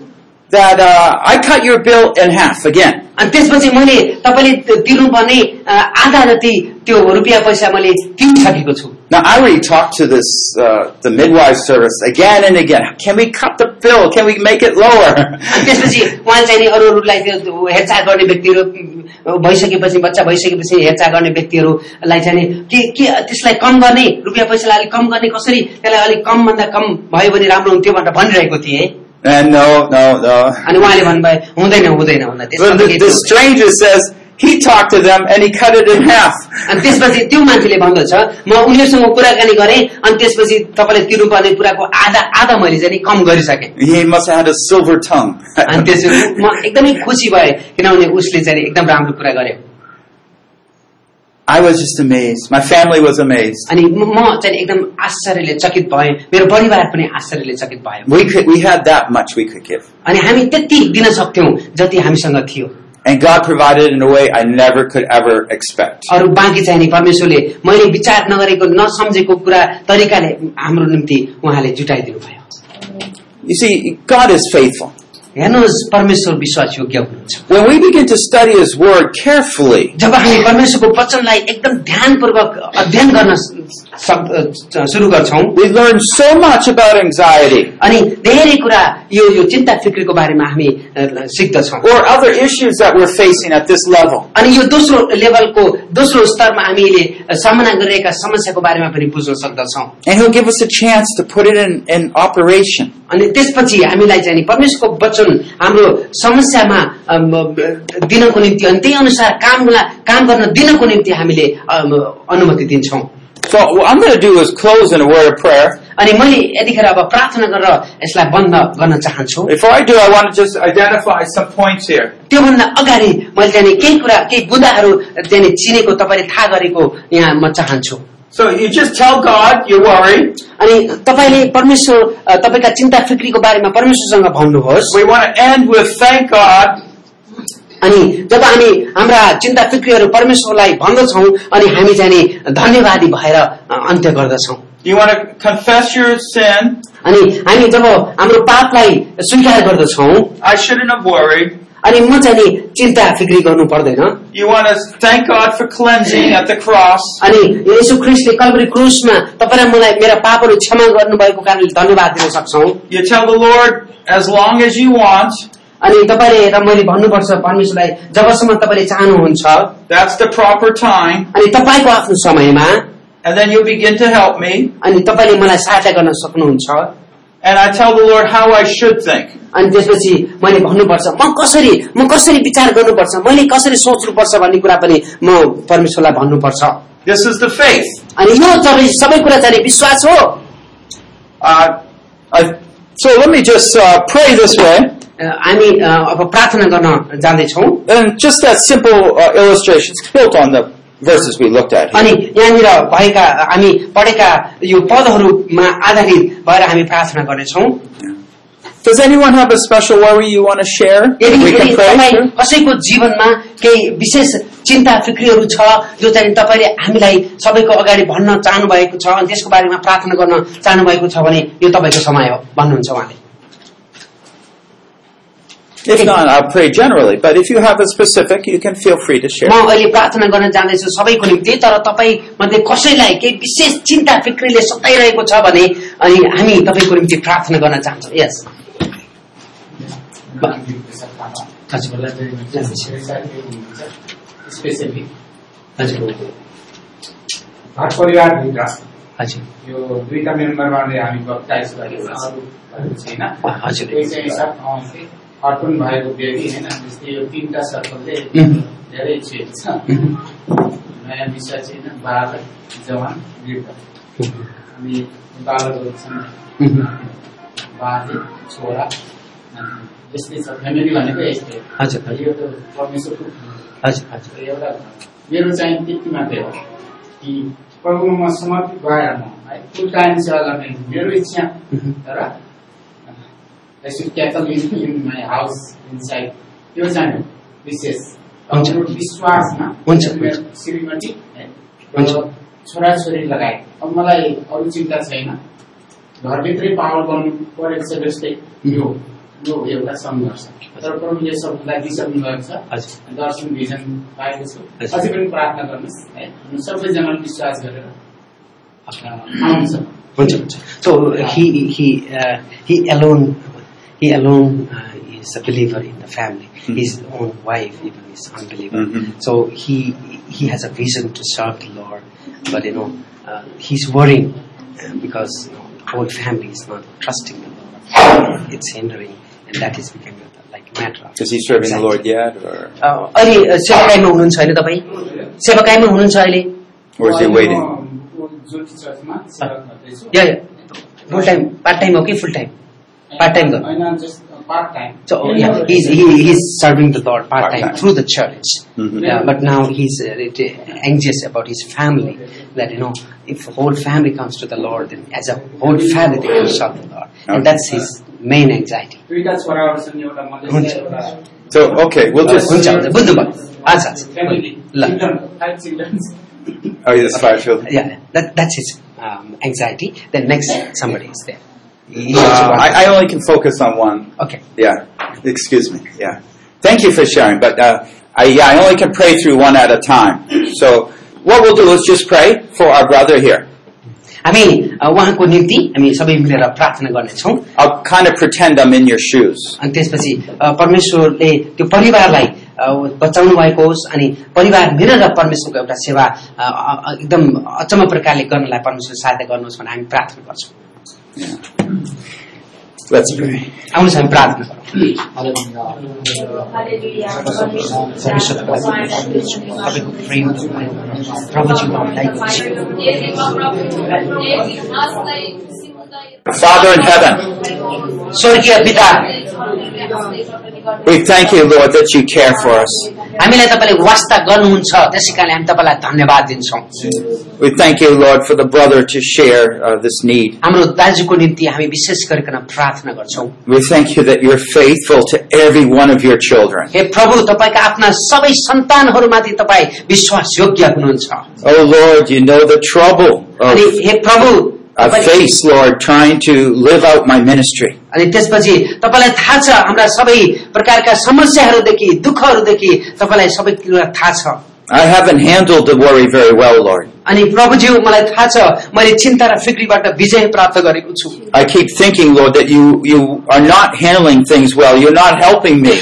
C: that uh, I cut your bill in half again.
B: अनि त्यसपछि मैले तपाईँले त्यो तिर्नुपर्ने अ, आधा जति त्यो रुपियाँ पैसा मैले तिरिसकेको छु
C: Now I already talked to this uh, the midwife service again and again. Can we cut the bill? Can we make it
B: अनि
C: lower?
B: त्यसपछि उहाँ चाहिँ नि अरू अरूलाई त्यो हेरचाह गर्ने व्यक्तिहरू अ, भइसकेपछि बच्चा भइसकेपछि हेरचाह गर्ने व्यक्तिहरूलाई चाहिँ नि के के त्यसलाई कम गर्ने रुपियाँ पैसालाई अलिक कम गर्ने कसरी त्यसलाई अलिक कमभन्दा कम भयो भने राम्रो हुन्थ्यो भनेर भनिरहेको थिएँ
C: and no, no, no.
B: अनि उहाँले भन्नुभयो हुँदैन हुँदैन भन्दा
C: But the, the
B: त्यसपछि
C: stranger says he talked to them and he cut it in half.
B: अनि त्यसपछि त्यो मान्छेले भन्दछ म उनीहरूसँग कुराकानी गरेँ अनि त्यसपछि तपाईँले तिर्नुपर्ने कुराको आधा आधा मैले चाहिँ नि कम गरिसकेँ
C: He must have had a silver tongue. [LAUGHS]
B: अनि त्यसपछि म एकदमै खुसी भएँ किनभने उसले चाहिँ नि एकदम राम्रो कुरा गर्यो
C: I was just amazed. My family was amazed.
B: अनि म म चाहिँ एकदम आश्चर्यले चकित भएँ मेरो परिवार पनि आश्चर्यले चकित भयो
C: We could, we had that much we could give.
B: अनि हामी त्यति दिन सक्थ्यौँ जति हामीसँग थियो
C: And God provided in a way I never could ever expect.
B: अरू बाँकी चाहिने परमेश्वरले मैले विचार नगरेको नसम्झेको कुरा तरिकाले हाम्रो निम्ति उहाँले जुटाइदिनु भयो
C: You see, God is faithful.
B: हेर्नुहोस् परमेश्वर विश्वास योग्य हुनुहुन्छ
C: When we begin to study His Word carefully,
B: जब हामी परमेश्वरको वचनलाई एकदम ध्यानपूर्वक अध्ययन गर्न सक- अ, सुरु गर्छौँ
C: we learn so much about anxiety
B: अनि धेरै कुरा यो यो चिन्ता फिक्रीको बारेमा हामी अ, सिक्दछौँ
C: or other issues that we're facing at this level.
B: अनि यो दोस्रो लेभलको दोस्रो स्तरमा हामीले सामना गरिरहेका समस्याको बारेमा पनि बुझ्न सक्दछौँ
C: And He'll give us a chance to put it in, in operation.
B: अनि त्यसपछि हामीलाई चाहिँ नि परमेश्वरको वचन हाम्रो समस्यामा अम, दिनको निम्ति अनि त्यही अनुसार काम काम गर्न दिनको निम्ति हामीले अम, अनुमति दिन्छौँ
C: So what I'm going to do is close in a word of prayer.
B: अनि मैले यतिखेर अब प्रार्थना गरेर यसलाई बन्द गर्न चाहन्छु
C: Before I do, I want to just identify some points here.
B: त्योभन्दा अगाडि मैले चाहिँ नि केही कुरा केही बुदाहरू चाहिँ नि चिनेको तपाईँले थाहा गरेको यहाँ म चाहन्छु
C: So you just tell God you're worried.
B: अनि तपाईँले परमेश्वर अ, तपाईँका चिन्ता फिक्रीको बारेमा परमेश्वरसँग भन्नुहोस्
C: We want to end with thank God
B: अनि जब हामी हाम्रा चिन्ता फिक्रीहरू परमेश्वरलाई भन्दछौँ अनि हामी चाहिँ नि धन्यवादी भएर अ, अन्त्य गर्दछौँ
C: You want to confess your sin.
B: अनि हामी जब हाम्रो पापलाई स्वीकार गर्दछौँ
C: I shouldn't have worried.
B: अनि म चाहिँ नि चिन्ता फिक्री गर्नु पर्दैन
C: You want to thank God for cleansing at the cross.
B: अनि यसो ख्रिस्टले कलवरी क्रुसमा तपाईँ र मलाई मेरा पापहरू क्षमा गर्नुभएको कारणले धन्यवाद दिन सक्छौँ
C: You tell the Lord as long as you want.
B: अनि तपाईँले र मैले भन्नुपर्छ परमेश्वरलाई जबसम्म तपाईँले चाहनुहुन्छ
C: That's the proper time.
B: अनि तपाईँको आफ्नो समयमा
C: And then you begin to help me.
B: अनि तपाईँले मलाई सहायता गर्न सक्नुहुन्छ
C: And I tell the Lord how I should think.
B: अनि त्यसपछि मैले भन्नुपर्छ म कसरी म कसरी विचार गर्नुपर्छ मैले कसरी सोच्नुपर्छ भन्ने कुरा पनि म परमेश्वरलाई भन्नुपर्छ
C: This is the faith.
B: अनि यो सबै सबै कुरा चाहिँ नि विश्वास हो
C: Uh, I, so let me just uh, pray this way.
B: अ, हामी अ, अब प्रार्थना गर्न जाँदैछौं
C: And just that simple uh, illustration it's built on the verses we looked at.
B: अनि यहाँनिर भएका हामी पढेका यो पदहरूमा आधारित भएर हामी प्रार्थना गर्नेछौँ
C: Does anyone have a special worry you want to share?
B: यदि
C: We
B: फेरि
C: can pray.
B: तपाईँ
C: through?
B: कसैको जीवनमा केही विशेष चिन्ता फिक्रीहरू छ जो चाहिँ तपाईँले हामीलाई सबैको अगाडि भन्न चाहनुभएको छ अनि त्यसको बारेमा प्रार्थना गर्न चाहनुभएको छ भने यो तपाईँको समय हो भन्नुहुन्छ उहाँले
C: If not, I'll pray generally. But if you have a specific, you can feel free to share.
B: म अहिले प्रार्थना गर्न जाँदैछु सबैको निम्ति तर तपाईँ मध्ये कसैलाई केही विशेष चिन्ता फिक्रीले सताइरहेको छ भने अनि हामी तपाईँको निम्ति प्रार्थना गर्न चाहन्छौँ यस
F: स्पेसली
B: हजुर
G: घर परिवारभित्र
B: हजुर
G: यो दुईटा मेम्बरबाटै हामी बक्ताइस गरेको अरू अरू छैन
B: हजुर।
G: कोही चाहिँ यस्ता ठाउँ चाहिँ अर्पण भएको व्यक्ति होइन जस्तै यो तिनवटा सर्कलले
B: उम्.
G: धेरै छेको छ नयाँ विषय छैन बालक जवान वृद्ध अनि बालकहरू छन् बाले छोरा अनि यस्तै छ फ्यामिली भनेको यस्तै हो।
B: हजुर, हजुर।
G: यो त परमेश्वरको
B: हजुर हजुर
G: एउटा मेरो चाहिँ त्यति मात्रै हो कि प्रभुमा म समर्पित भएर म है फुल टाइम सेवा गर्ने मेरो इच्छा
B: Mhm.
G: तर I should cattle in in my house inside त्यो चाहिँ हो विशेष अब
B: हुन्छ।
G: मेरो विश्वासमा
B: हुन्छ,
G: मेरो
B: हुन्छ।
G: श्रीमती है
B: हुन्छ।
G: र छोराछोरी लगाए अब मलाई अरू चिन्ता छैन घरभित्रै पावर गर्नु परेको छ जस्तै यो यो एउटा सङ्घर्ष तर प्रभुले सबलाई दिशा दिनुभएको छ
B: हजुर
G: दर्शन भिजन पाएको छु
B: हजुर।
G: अझै पनि प्रार्थना गर्नुहोस् है हामी सबैजनाले विश्वास गरेर अ, आउँछ
B: हुन्छ हुन्छ सो हि हि he alone he alone is a believer in the
C: Hmm.
B: Family his own wife even is unbeliever
C: Mm-hmm.
B: So he he has a vision to serve the Lord but you know he is worrying because our family is not trusting the Lord it's hindering and that is become like matter of
C: Is he serving the Lord yet, or,
B: अहिले अ, सेवाकाईमा हुनुहुन्छ होइन तपाईँ सेवाकाईमा हुनुहुन्छ अहिले
C: or is he
G: म,
C: waiting?
G: ऊ ज्योति चर्चमा सेवा गर्दैछु
B: yeah yeah full time part time हो कि फुल टाइम part time गर्नु?
G: होइन just part time
C: oh,
B: So yeah, he's, he, he's serving the Lord part time
C: Part-time.
B: through the church.
C: Mhm.
B: Yeah, but now he's uh, it- anxious about his family. That you know, if the whole family comes to the Lord, then as a whole family they can serve the Lord,
C: Okay.
B: and that's his main anxiety
G: दुईटा छोराहरू छन् एउटा मधेस
B: हुन्छ।
G: एउटा
C: So, okay, we'll just.
B: हुन्छ हुन्छ बुझ्नुभयो अच्छा अच्छा
G: फ्यामिली
B: ल।
G: Children five childrens
C: Oh, yes, Firefield.
B: yeah, that, that's his um, anxiety. Then next, somebody is there. He
C: Uh,
B: also wants-
C: I, I only can focus on one.
B: okay.
C: Yeah. Excuse me. Yeah. Thank you for sharing, but uh, I, yeah, I only can pray through one at a time. So, what we'll do is just pray for our brother here.
B: हामी अ, उहाँको निम्ति हामी सबै मिलेर प्रार्थना गर्नेछौँ
C: I'll kind of pretend I'm in your shoes.
B: अनि त्यसपछि अ, परमेश्वरले त्यो परिवारलाई अ, बचाउनु भएको होस् अनि परिवार मिलेर परमेश्वरको एउटा सेवा अ, अ, एकदम अचम्म प्रकारले गर्नलाई परमेश्वरले सहायता गर्नुहोस् भनेर हामी प्रार्थना गर्छौँ
C: Let's pray.
B: आउनुहोस् हामी प्रार्थना गरौँ तपाईँको प्रेम प्रभुजी हामीलाई
C: Father in heaven,
B: स्वर्गीय पिता
C: we thank you, Lord, that you care for us.
B: हामीलाई तपाईँले वास्ता गर्नुहुन्छ त्यसै कारणले हामी तपाईँलाई धन्यवाद दिन्छौँ
C: We thank you, Lord, for the brother to share uh, this need.
B: हाम्रो दाजुको निम्ति हामी विशेष गरिकन प्रार्थना गर्छौँ
C: We thank you that you're faithful to every one of your children.
B: हे प्रभु तपाईँका आफ्ना सबै सन्तानहरूमाथि तपाईँ विश्वास योग्य हुनुहुन्छ
C: Oh, Lord, you know the trouble
B: अनि
C: of
B: हे प्रभु
C: I
B: तपाईँ-
C: face, Lord, trying to live out my ministry.
B: अनि त्यसपछि तपाईँलाई थाहा छ हाम्रा सबै प्रकारका समस्याहरूदेखि दुःखहरूदेखि तपाईँलाई सबै कुरा थाहा छ
C: I haven't handled the worry very well, Lord.
B: अनि प्रभुज्यू मलाई थाहा छ मैले चिन्ता र फिक्रीबाट विजय प्राप्त गरेको छु
C: I keep thinking, Lord, that you, you are not handling things well. You're not helping me.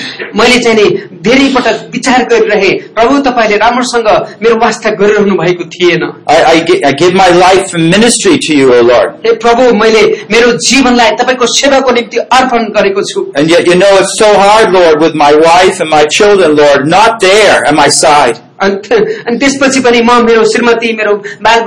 B: मैले चाहिँ नि धेरै पटक विचार गरिरहे प्रभु तपाईँले राम्रोसँग मेरो वास्ता गरिरहनु भएको थिएन
C: I, I, gi- I give my life and ministry to you, O Lord.
B: हे प्रभु मैले मेरो जीवनलाई तपाईँको सेवाको निम्ति अर्पण गरेको छु
C: And yet you know it's so hard, Lord, with my wife and my children, Lord, not there at my side.
B: अनि त- अनि त्यसपछि पनि म मेरो श्रीमती मेरो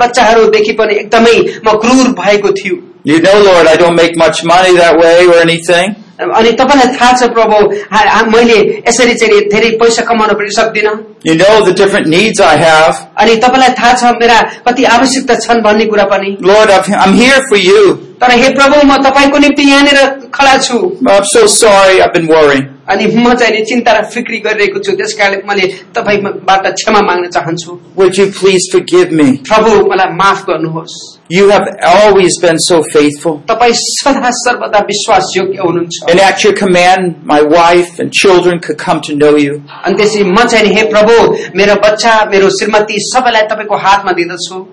B: बालबच्चाहरूदेखि पनि एकदमै म क्रूर भएको थियो
C: You know, Lord, I don't make much money that way or anything.
B: अनि तपाईँलाई थाहा छ प्रभु हा- हा- मैले यसरी चाहिँ नि धेरै पैसा कमाउन पनि सक्दिनँ
C: You know the different needs I have.
B: अनि तपाईँलाई थाहा छ मेरा कति आवश्यकता छन् भन्ने कुरा पनि
C: Lord, I've, I'm here for you.
B: तर हे प्रभु म तपाईँको निम्ति यहाँनिर खडा छु
C: I'm so sorry I've been worrying.
B: अनि म चाहिँ नि चिन्ता र फिक्री गरिरहेको छु त्यस कारणले मैले तपाईँबाट क्षमा माग्न चाहन्छु
C: Would you please forgive me?
B: प्रभु मलाई माफ गर्नुहोस्
C: You have always been so faithful.
B: तपाईँ सदा सर्वदा विश्वासयोग्य हुनुहुन्छ
C: And at your command, my wife and children could come to know you.
B: अनि त्यसपछि म चाहिँ नि, हे प्रभु मेरो बच्चा मेरो श्रीमती सबैलाई तपाईँको हातमा दिँदछु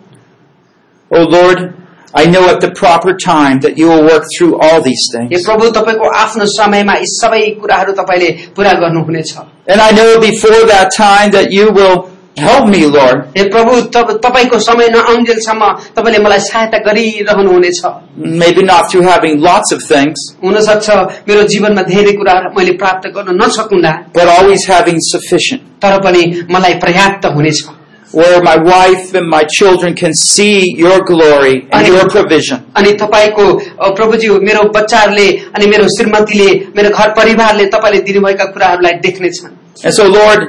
C: Oh Lord, I know at the proper time that you will work through all these
B: hey
C: things.
B: प्रभु तपाईँको आफ्नो समयमा यी सबै कुराहरू तपाईँले पूरा गर्नुहुनेछ
C: And I know before that time that you will help me, Lord.
B: हे प्रभु तब तपाईँको समय नआउन्जेलसम्म तपाईँले मलाई सहायता गरिरहनुहुनेछ
C: Maybe not through having lots of things,
B: हुनसक्छ मेरो जीवनमा धेरै कुराहरू मैले प्राप्त गर्न नसकुला
C: but always having sufficient.
B: तर पनि मलाई पर्याप्त हुनेछ
C: Where my wife and my children can see your glory and your provision.
B: अनि तपाईँको अ, प्रभुजी मेरो बच्चाहरूले अनि मेरो श्रीमतीले मेरो घर परिवारले तपाईँले दिनुभएका कुराहरूलाई देख्नेछन्
C: And so, Lord,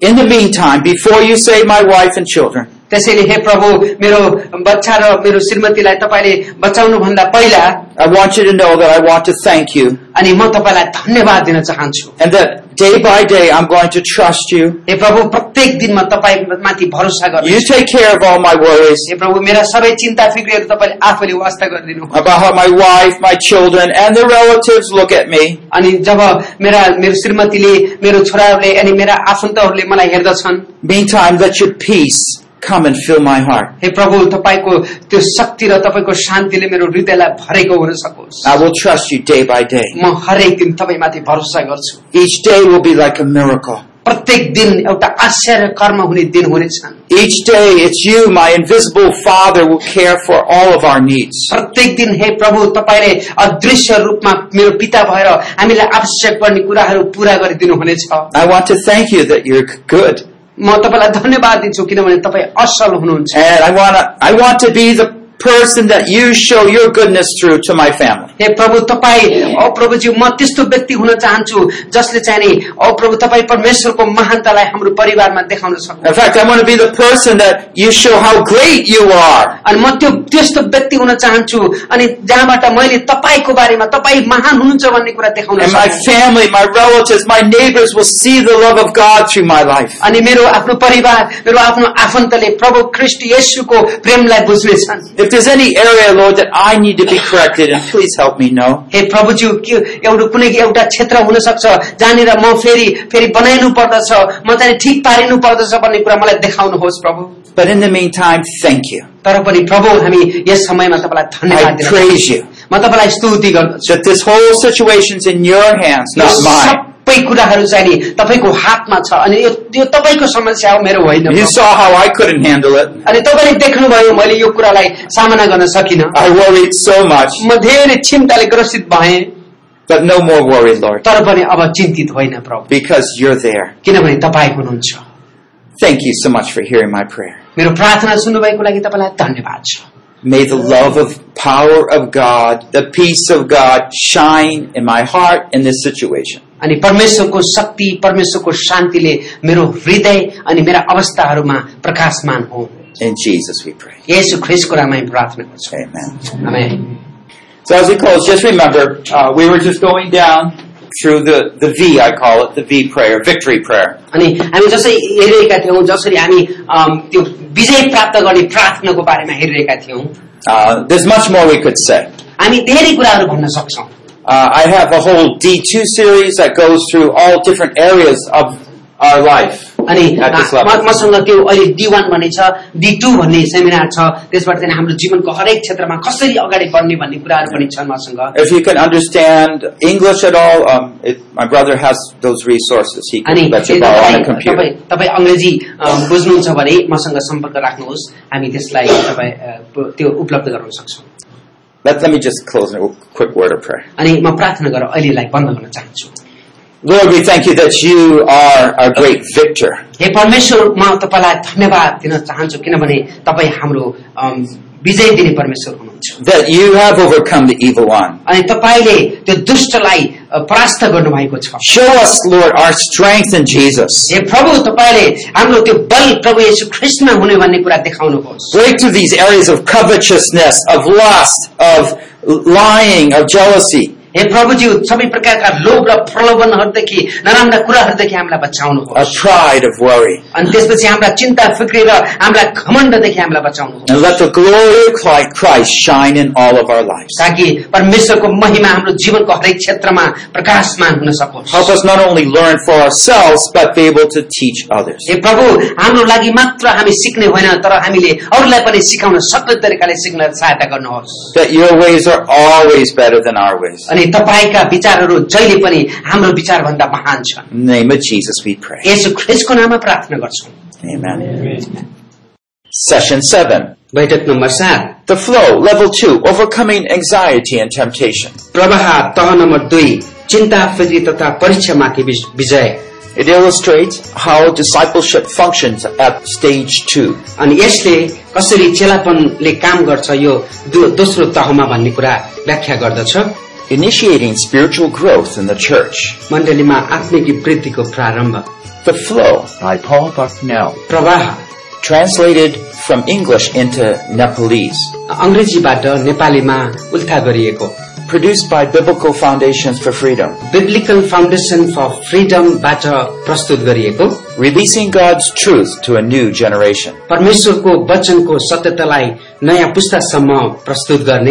C: in the meantime, before you save my wife and children,
B: त्यसैले हे प्रभु मेरो बच्चा र मेरो श्रीमतीलाई तपाईँले बचाउनुभन्दा पहिला
C: I want you to know that I want to thank you
B: अनि म तपाईँलाई धन्यवाद दिन चाहन्छु
C: and that day by day I'm going to trust you.
B: हे प्रभु प्रत्येक दिनमा तपाईँमाथि भरोसा गर्नु
C: You take care of all my worries
B: हे प्रभु मेरा सबै चिन्ता फिक्रीहरू तपाईँले आफैले वास्ता गरिदिनु
C: about how my wife, my children, and the relatives look at me.
B: अनि जब मेरा मेरो श्रीमतीले मेरो छोराहरूले अनि मेरा आफन्तहरूले मलाई हेर्दछन्
C: Meantime, let your peace come and fill my heart.
B: हे प्रभु तपाईँको त्यो शक्ति र तपाईँको शान्तिले मेरो हृदयलाई भरेको हुन सकोस्
C: I will trust you day by day.
B: म हरेक दिन तपाईँमाथि भरोसा गर्छु
C: Each day will be like a miracle.
B: प्रत्येक दिन एउटा आश्चर्य कर्म हुने दिन हुनेछन्
C: Each day, it's you, my invisible Father, will care for all of our needs.
B: प्रत्येक दिन हे प्रभु तपाईँले अदृश्य रूपमा मेरो पिता भएर हामीलाई आवश्यक पर्ने कुराहरू पूरा गरिदिनु हुनेछ
C: I want to thank you that you're good.
B: म तपाईँलाई धन्यवाद दिन्छु किनभने तपाईँ असल हुनुहुन्छ
C: And I want to, I want to be the person that you show your goodness through to my family.
H: हे प्रभु तपाईँ औ प्रभुज्यू म त्यस्तो व्यक्ति हुन चाहन्छु जसले चाहिँ नि औ प्रभु तपाईँ परमेश्वरको महानतालाई हाम्रो परिवारमा देखाउन सक्नु
C: In fact, I want to be the person that you show how great you are.
H: अनि म त्यो त्यस्तो व्यक्ति हुन चाहन्छु अनि जहाँबाट मैले तपाईँको बारेमा तपाईँ महान हुनुहुन्छ भन्ने कुरा देखाउन
C: And my
H: सक्छु
C: family, my relatives, my neighbors will see the love of God through my life.
H: अनि मेरो आफ्नो परिवार मेरो आफ्नो आफन्तले प्रभु ख्रिस्ट येशूको प्रेमलाई बुझ्नेछन्
C: If there's any area, Lord, that I need to be corrected, and please help me know.
H: हे प्रभुज्यू के एउटा कुनै एउटा क्षेत्र हुन सक्छ जहाँनिर म फेरि फेरि बनाइनु पर्दछ म चाहिँ ठिक पारिनु पर्दछ भन्ने कुरा मलाई देखाउनुहोस् प्रभु
C: But in the meantime, thank you.
H: तर पनि प्रभु हामी यस समयमा तपाईँलाई धन्यवाद
C: I
H: दिन
C: praise you
H: म तपाईँलाई स्तुति गर्दछु
C: that this whole situation's in your hands,
H: yo
C: not mine.
H: सबै कुराहरू चाहिँ नि तपाईँको हातमा छ अनि यो यो तपाईँको समस्या हो मेरो होइन
C: You
H: Prabhu.
C: saw how I couldn't handle it.
H: अनि तपाईँले देख्नुभयो मैले यो कुरालाई सामना गर्न सकिनँ
C: I worried so much,
H: म धेरै चिन्ताले ग्रसित भएँ
C: but no more worried, Lord,
H: तर पनि अब चिन्तित होइन प्रभु
C: because you're there.
H: किनभने तपाईँ हुनुहुन्छ
C: Thank you so much for hearing my prayer.
H: मेरो प्रार्थना सुन्नुभएको लागि तपाईँलाई धन्यवाद छ
C: May the love of power of God, the peace of God shine in my heart in this situation.
H: अनि परमेश्वरको शक्ति परमेश्वरको शान्तिले मेरो हृदय अनि मेरा अवस्थाहरूमा प्रकाशमान हो
C: In Jesus we pray.
H: यसो ख्रिसको रामा प्रार्थना गर्छु
C: Amen.
H: Amen.
C: So as we close, just remember, uh, we were just going down through the, the V, I call it, the V prayer, victory prayer.
H: अनि हामी जसरी हेरिरहेका थियौँ जसरी हामी अम, त्यो विजय प्राप्त गर्ने प्रार्थनाको बारेमा हेरिरहेका थियौँ
C: Uh, there's much more we could say.
H: हामी धेरै कुराहरू भन्न सक्छौँ
C: Uh, I have a whole D2 series that goes through all different areas of our life.
H: अनि
C: At this
H: म-
C: level.
H: मसँग त्यो अहिले डी वान भन्ने छ डी टू भन्ने सेमिनार छ त्यसबाट चाहिँ हाम्रो जीवनको हरेक क्षेत्रमा कसरी अगाडि बढ्ने भन्ने कुराहरू पनि छन् मसँग
C: If you can understand English at all, um, it, my brother has those resources. He
H: अनि
C: can let you
H: यदि
C: borrow on a
H: तपाईँ तपाईँ
C: computer.
H: तपाईँ अङ्ग्रेजी अ, बुझ्नुहुन्छ भने मसँग सम्पर्क राख्नुहोस् हामी त्यसलाई तपाईँ अ, प- त्यो उपलब्ध गराउन सक्छौँ
C: Let, let me just close in a quick word of prayer.
H: अनि म प्रार्थना गरेर अहिलेलाई बन्द गर्न चाहन्छु
C: Lord, we thank you that you are our great victor.
H: हे परमेश्वर म तपाईँलाई धन्यवाद दिन चाहन्छु किनभने तपाईँ हाम्रो अम, विजय दिने परमेश्वर हुनुहुन्छ
C: That you have overcome the evil one.
H: अनि तपाईँले त्यो दुष्टलाई अ, परास्त गर्नुभएको छ
C: Show us, Lord, our strength in Jesus.
H: हे प्रभु तपाईँले हाम्रो त्यो बल प्रभु यसु ख्रिस्टमा हुने भन्ने कुरा देखाउनुहोस्
C: Break through these areas of covetousness, of lust, of lying, of jealousy.
H: हे प्रभुज्यू सबै प्रकारका लोभ र प्रलोभनहरूदेखि नराम्रा कुराहरूदेखि हामीलाई
C: of
H: बचाउनुहोस्
C: pride, of worry.
H: अनि त्यसपछि हाम्रा चिन्ता फिक्री र हाम्रा घमण्डदेखि हामीलाई बचाउनुहोस्
C: And let the glory of Cli- Christ shine in all of our lives.
H: ताकि परमेश्वरको महिमा हाम्रो जीवनको हरेक क्षेत्रमा प्रकाशमान हुन सकोस्
C: Help us not only learn for ourselves, but be able to teach others.
H: हे प्रभु हाम्रो लागि मात्र हामी सिक्ने होइन तर हामीले अरूलाई पनि सिकाउन सक्ने तरिकाले सिक्न सहायता गर्नुहोस्
C: That your ways are always better than our ways.
H: अनि तपाईँका विचारहरू जहिले पनि हाम्रो विचारभन्दा महान छन्
C: In the name of Jesus we pray.
H: यसो ख्रिसको नाममा प्रार्थना गर्छौँ
C: Amen. Session 7.
D: बैठक नम्बर सात
C: The flow, level 2, overcoming anxiety and temptation.
D: प्रवाह तह नम्बर दुई चिन्ता फिक्री तथा परीक्षामाथि विज- विजय
C: It illustrates how discipleship functions at stage 2.
D: अनि यसले कसरी चेलापनले काम गर्छ यो दो- दोस्रो तहमा भन्ने कुरा व्याख्या गर्दछ
C: Initiating spiritual growth in the church.
D: मण्डलीमा आत्मिक वृद्धिको प्रारम्भ
C: The Flow by Paul Bucknell.
D: प्रवाह
C: Translated from English into Nepalese.
D: अंग्रेजीबाट नेपालीमा उल्था गरिएको
C: Produced by Biblical Foundations for Freedom.
D: Biblical Foundation for फ्रिडमबाट प्रस्तुत गरिएको
C: Releasing God's truth to a new generation.
D: परमेश्वरको वचनको सत्यतालाई नयाँ पुस्तासम्म प्रस्तुत गर्ने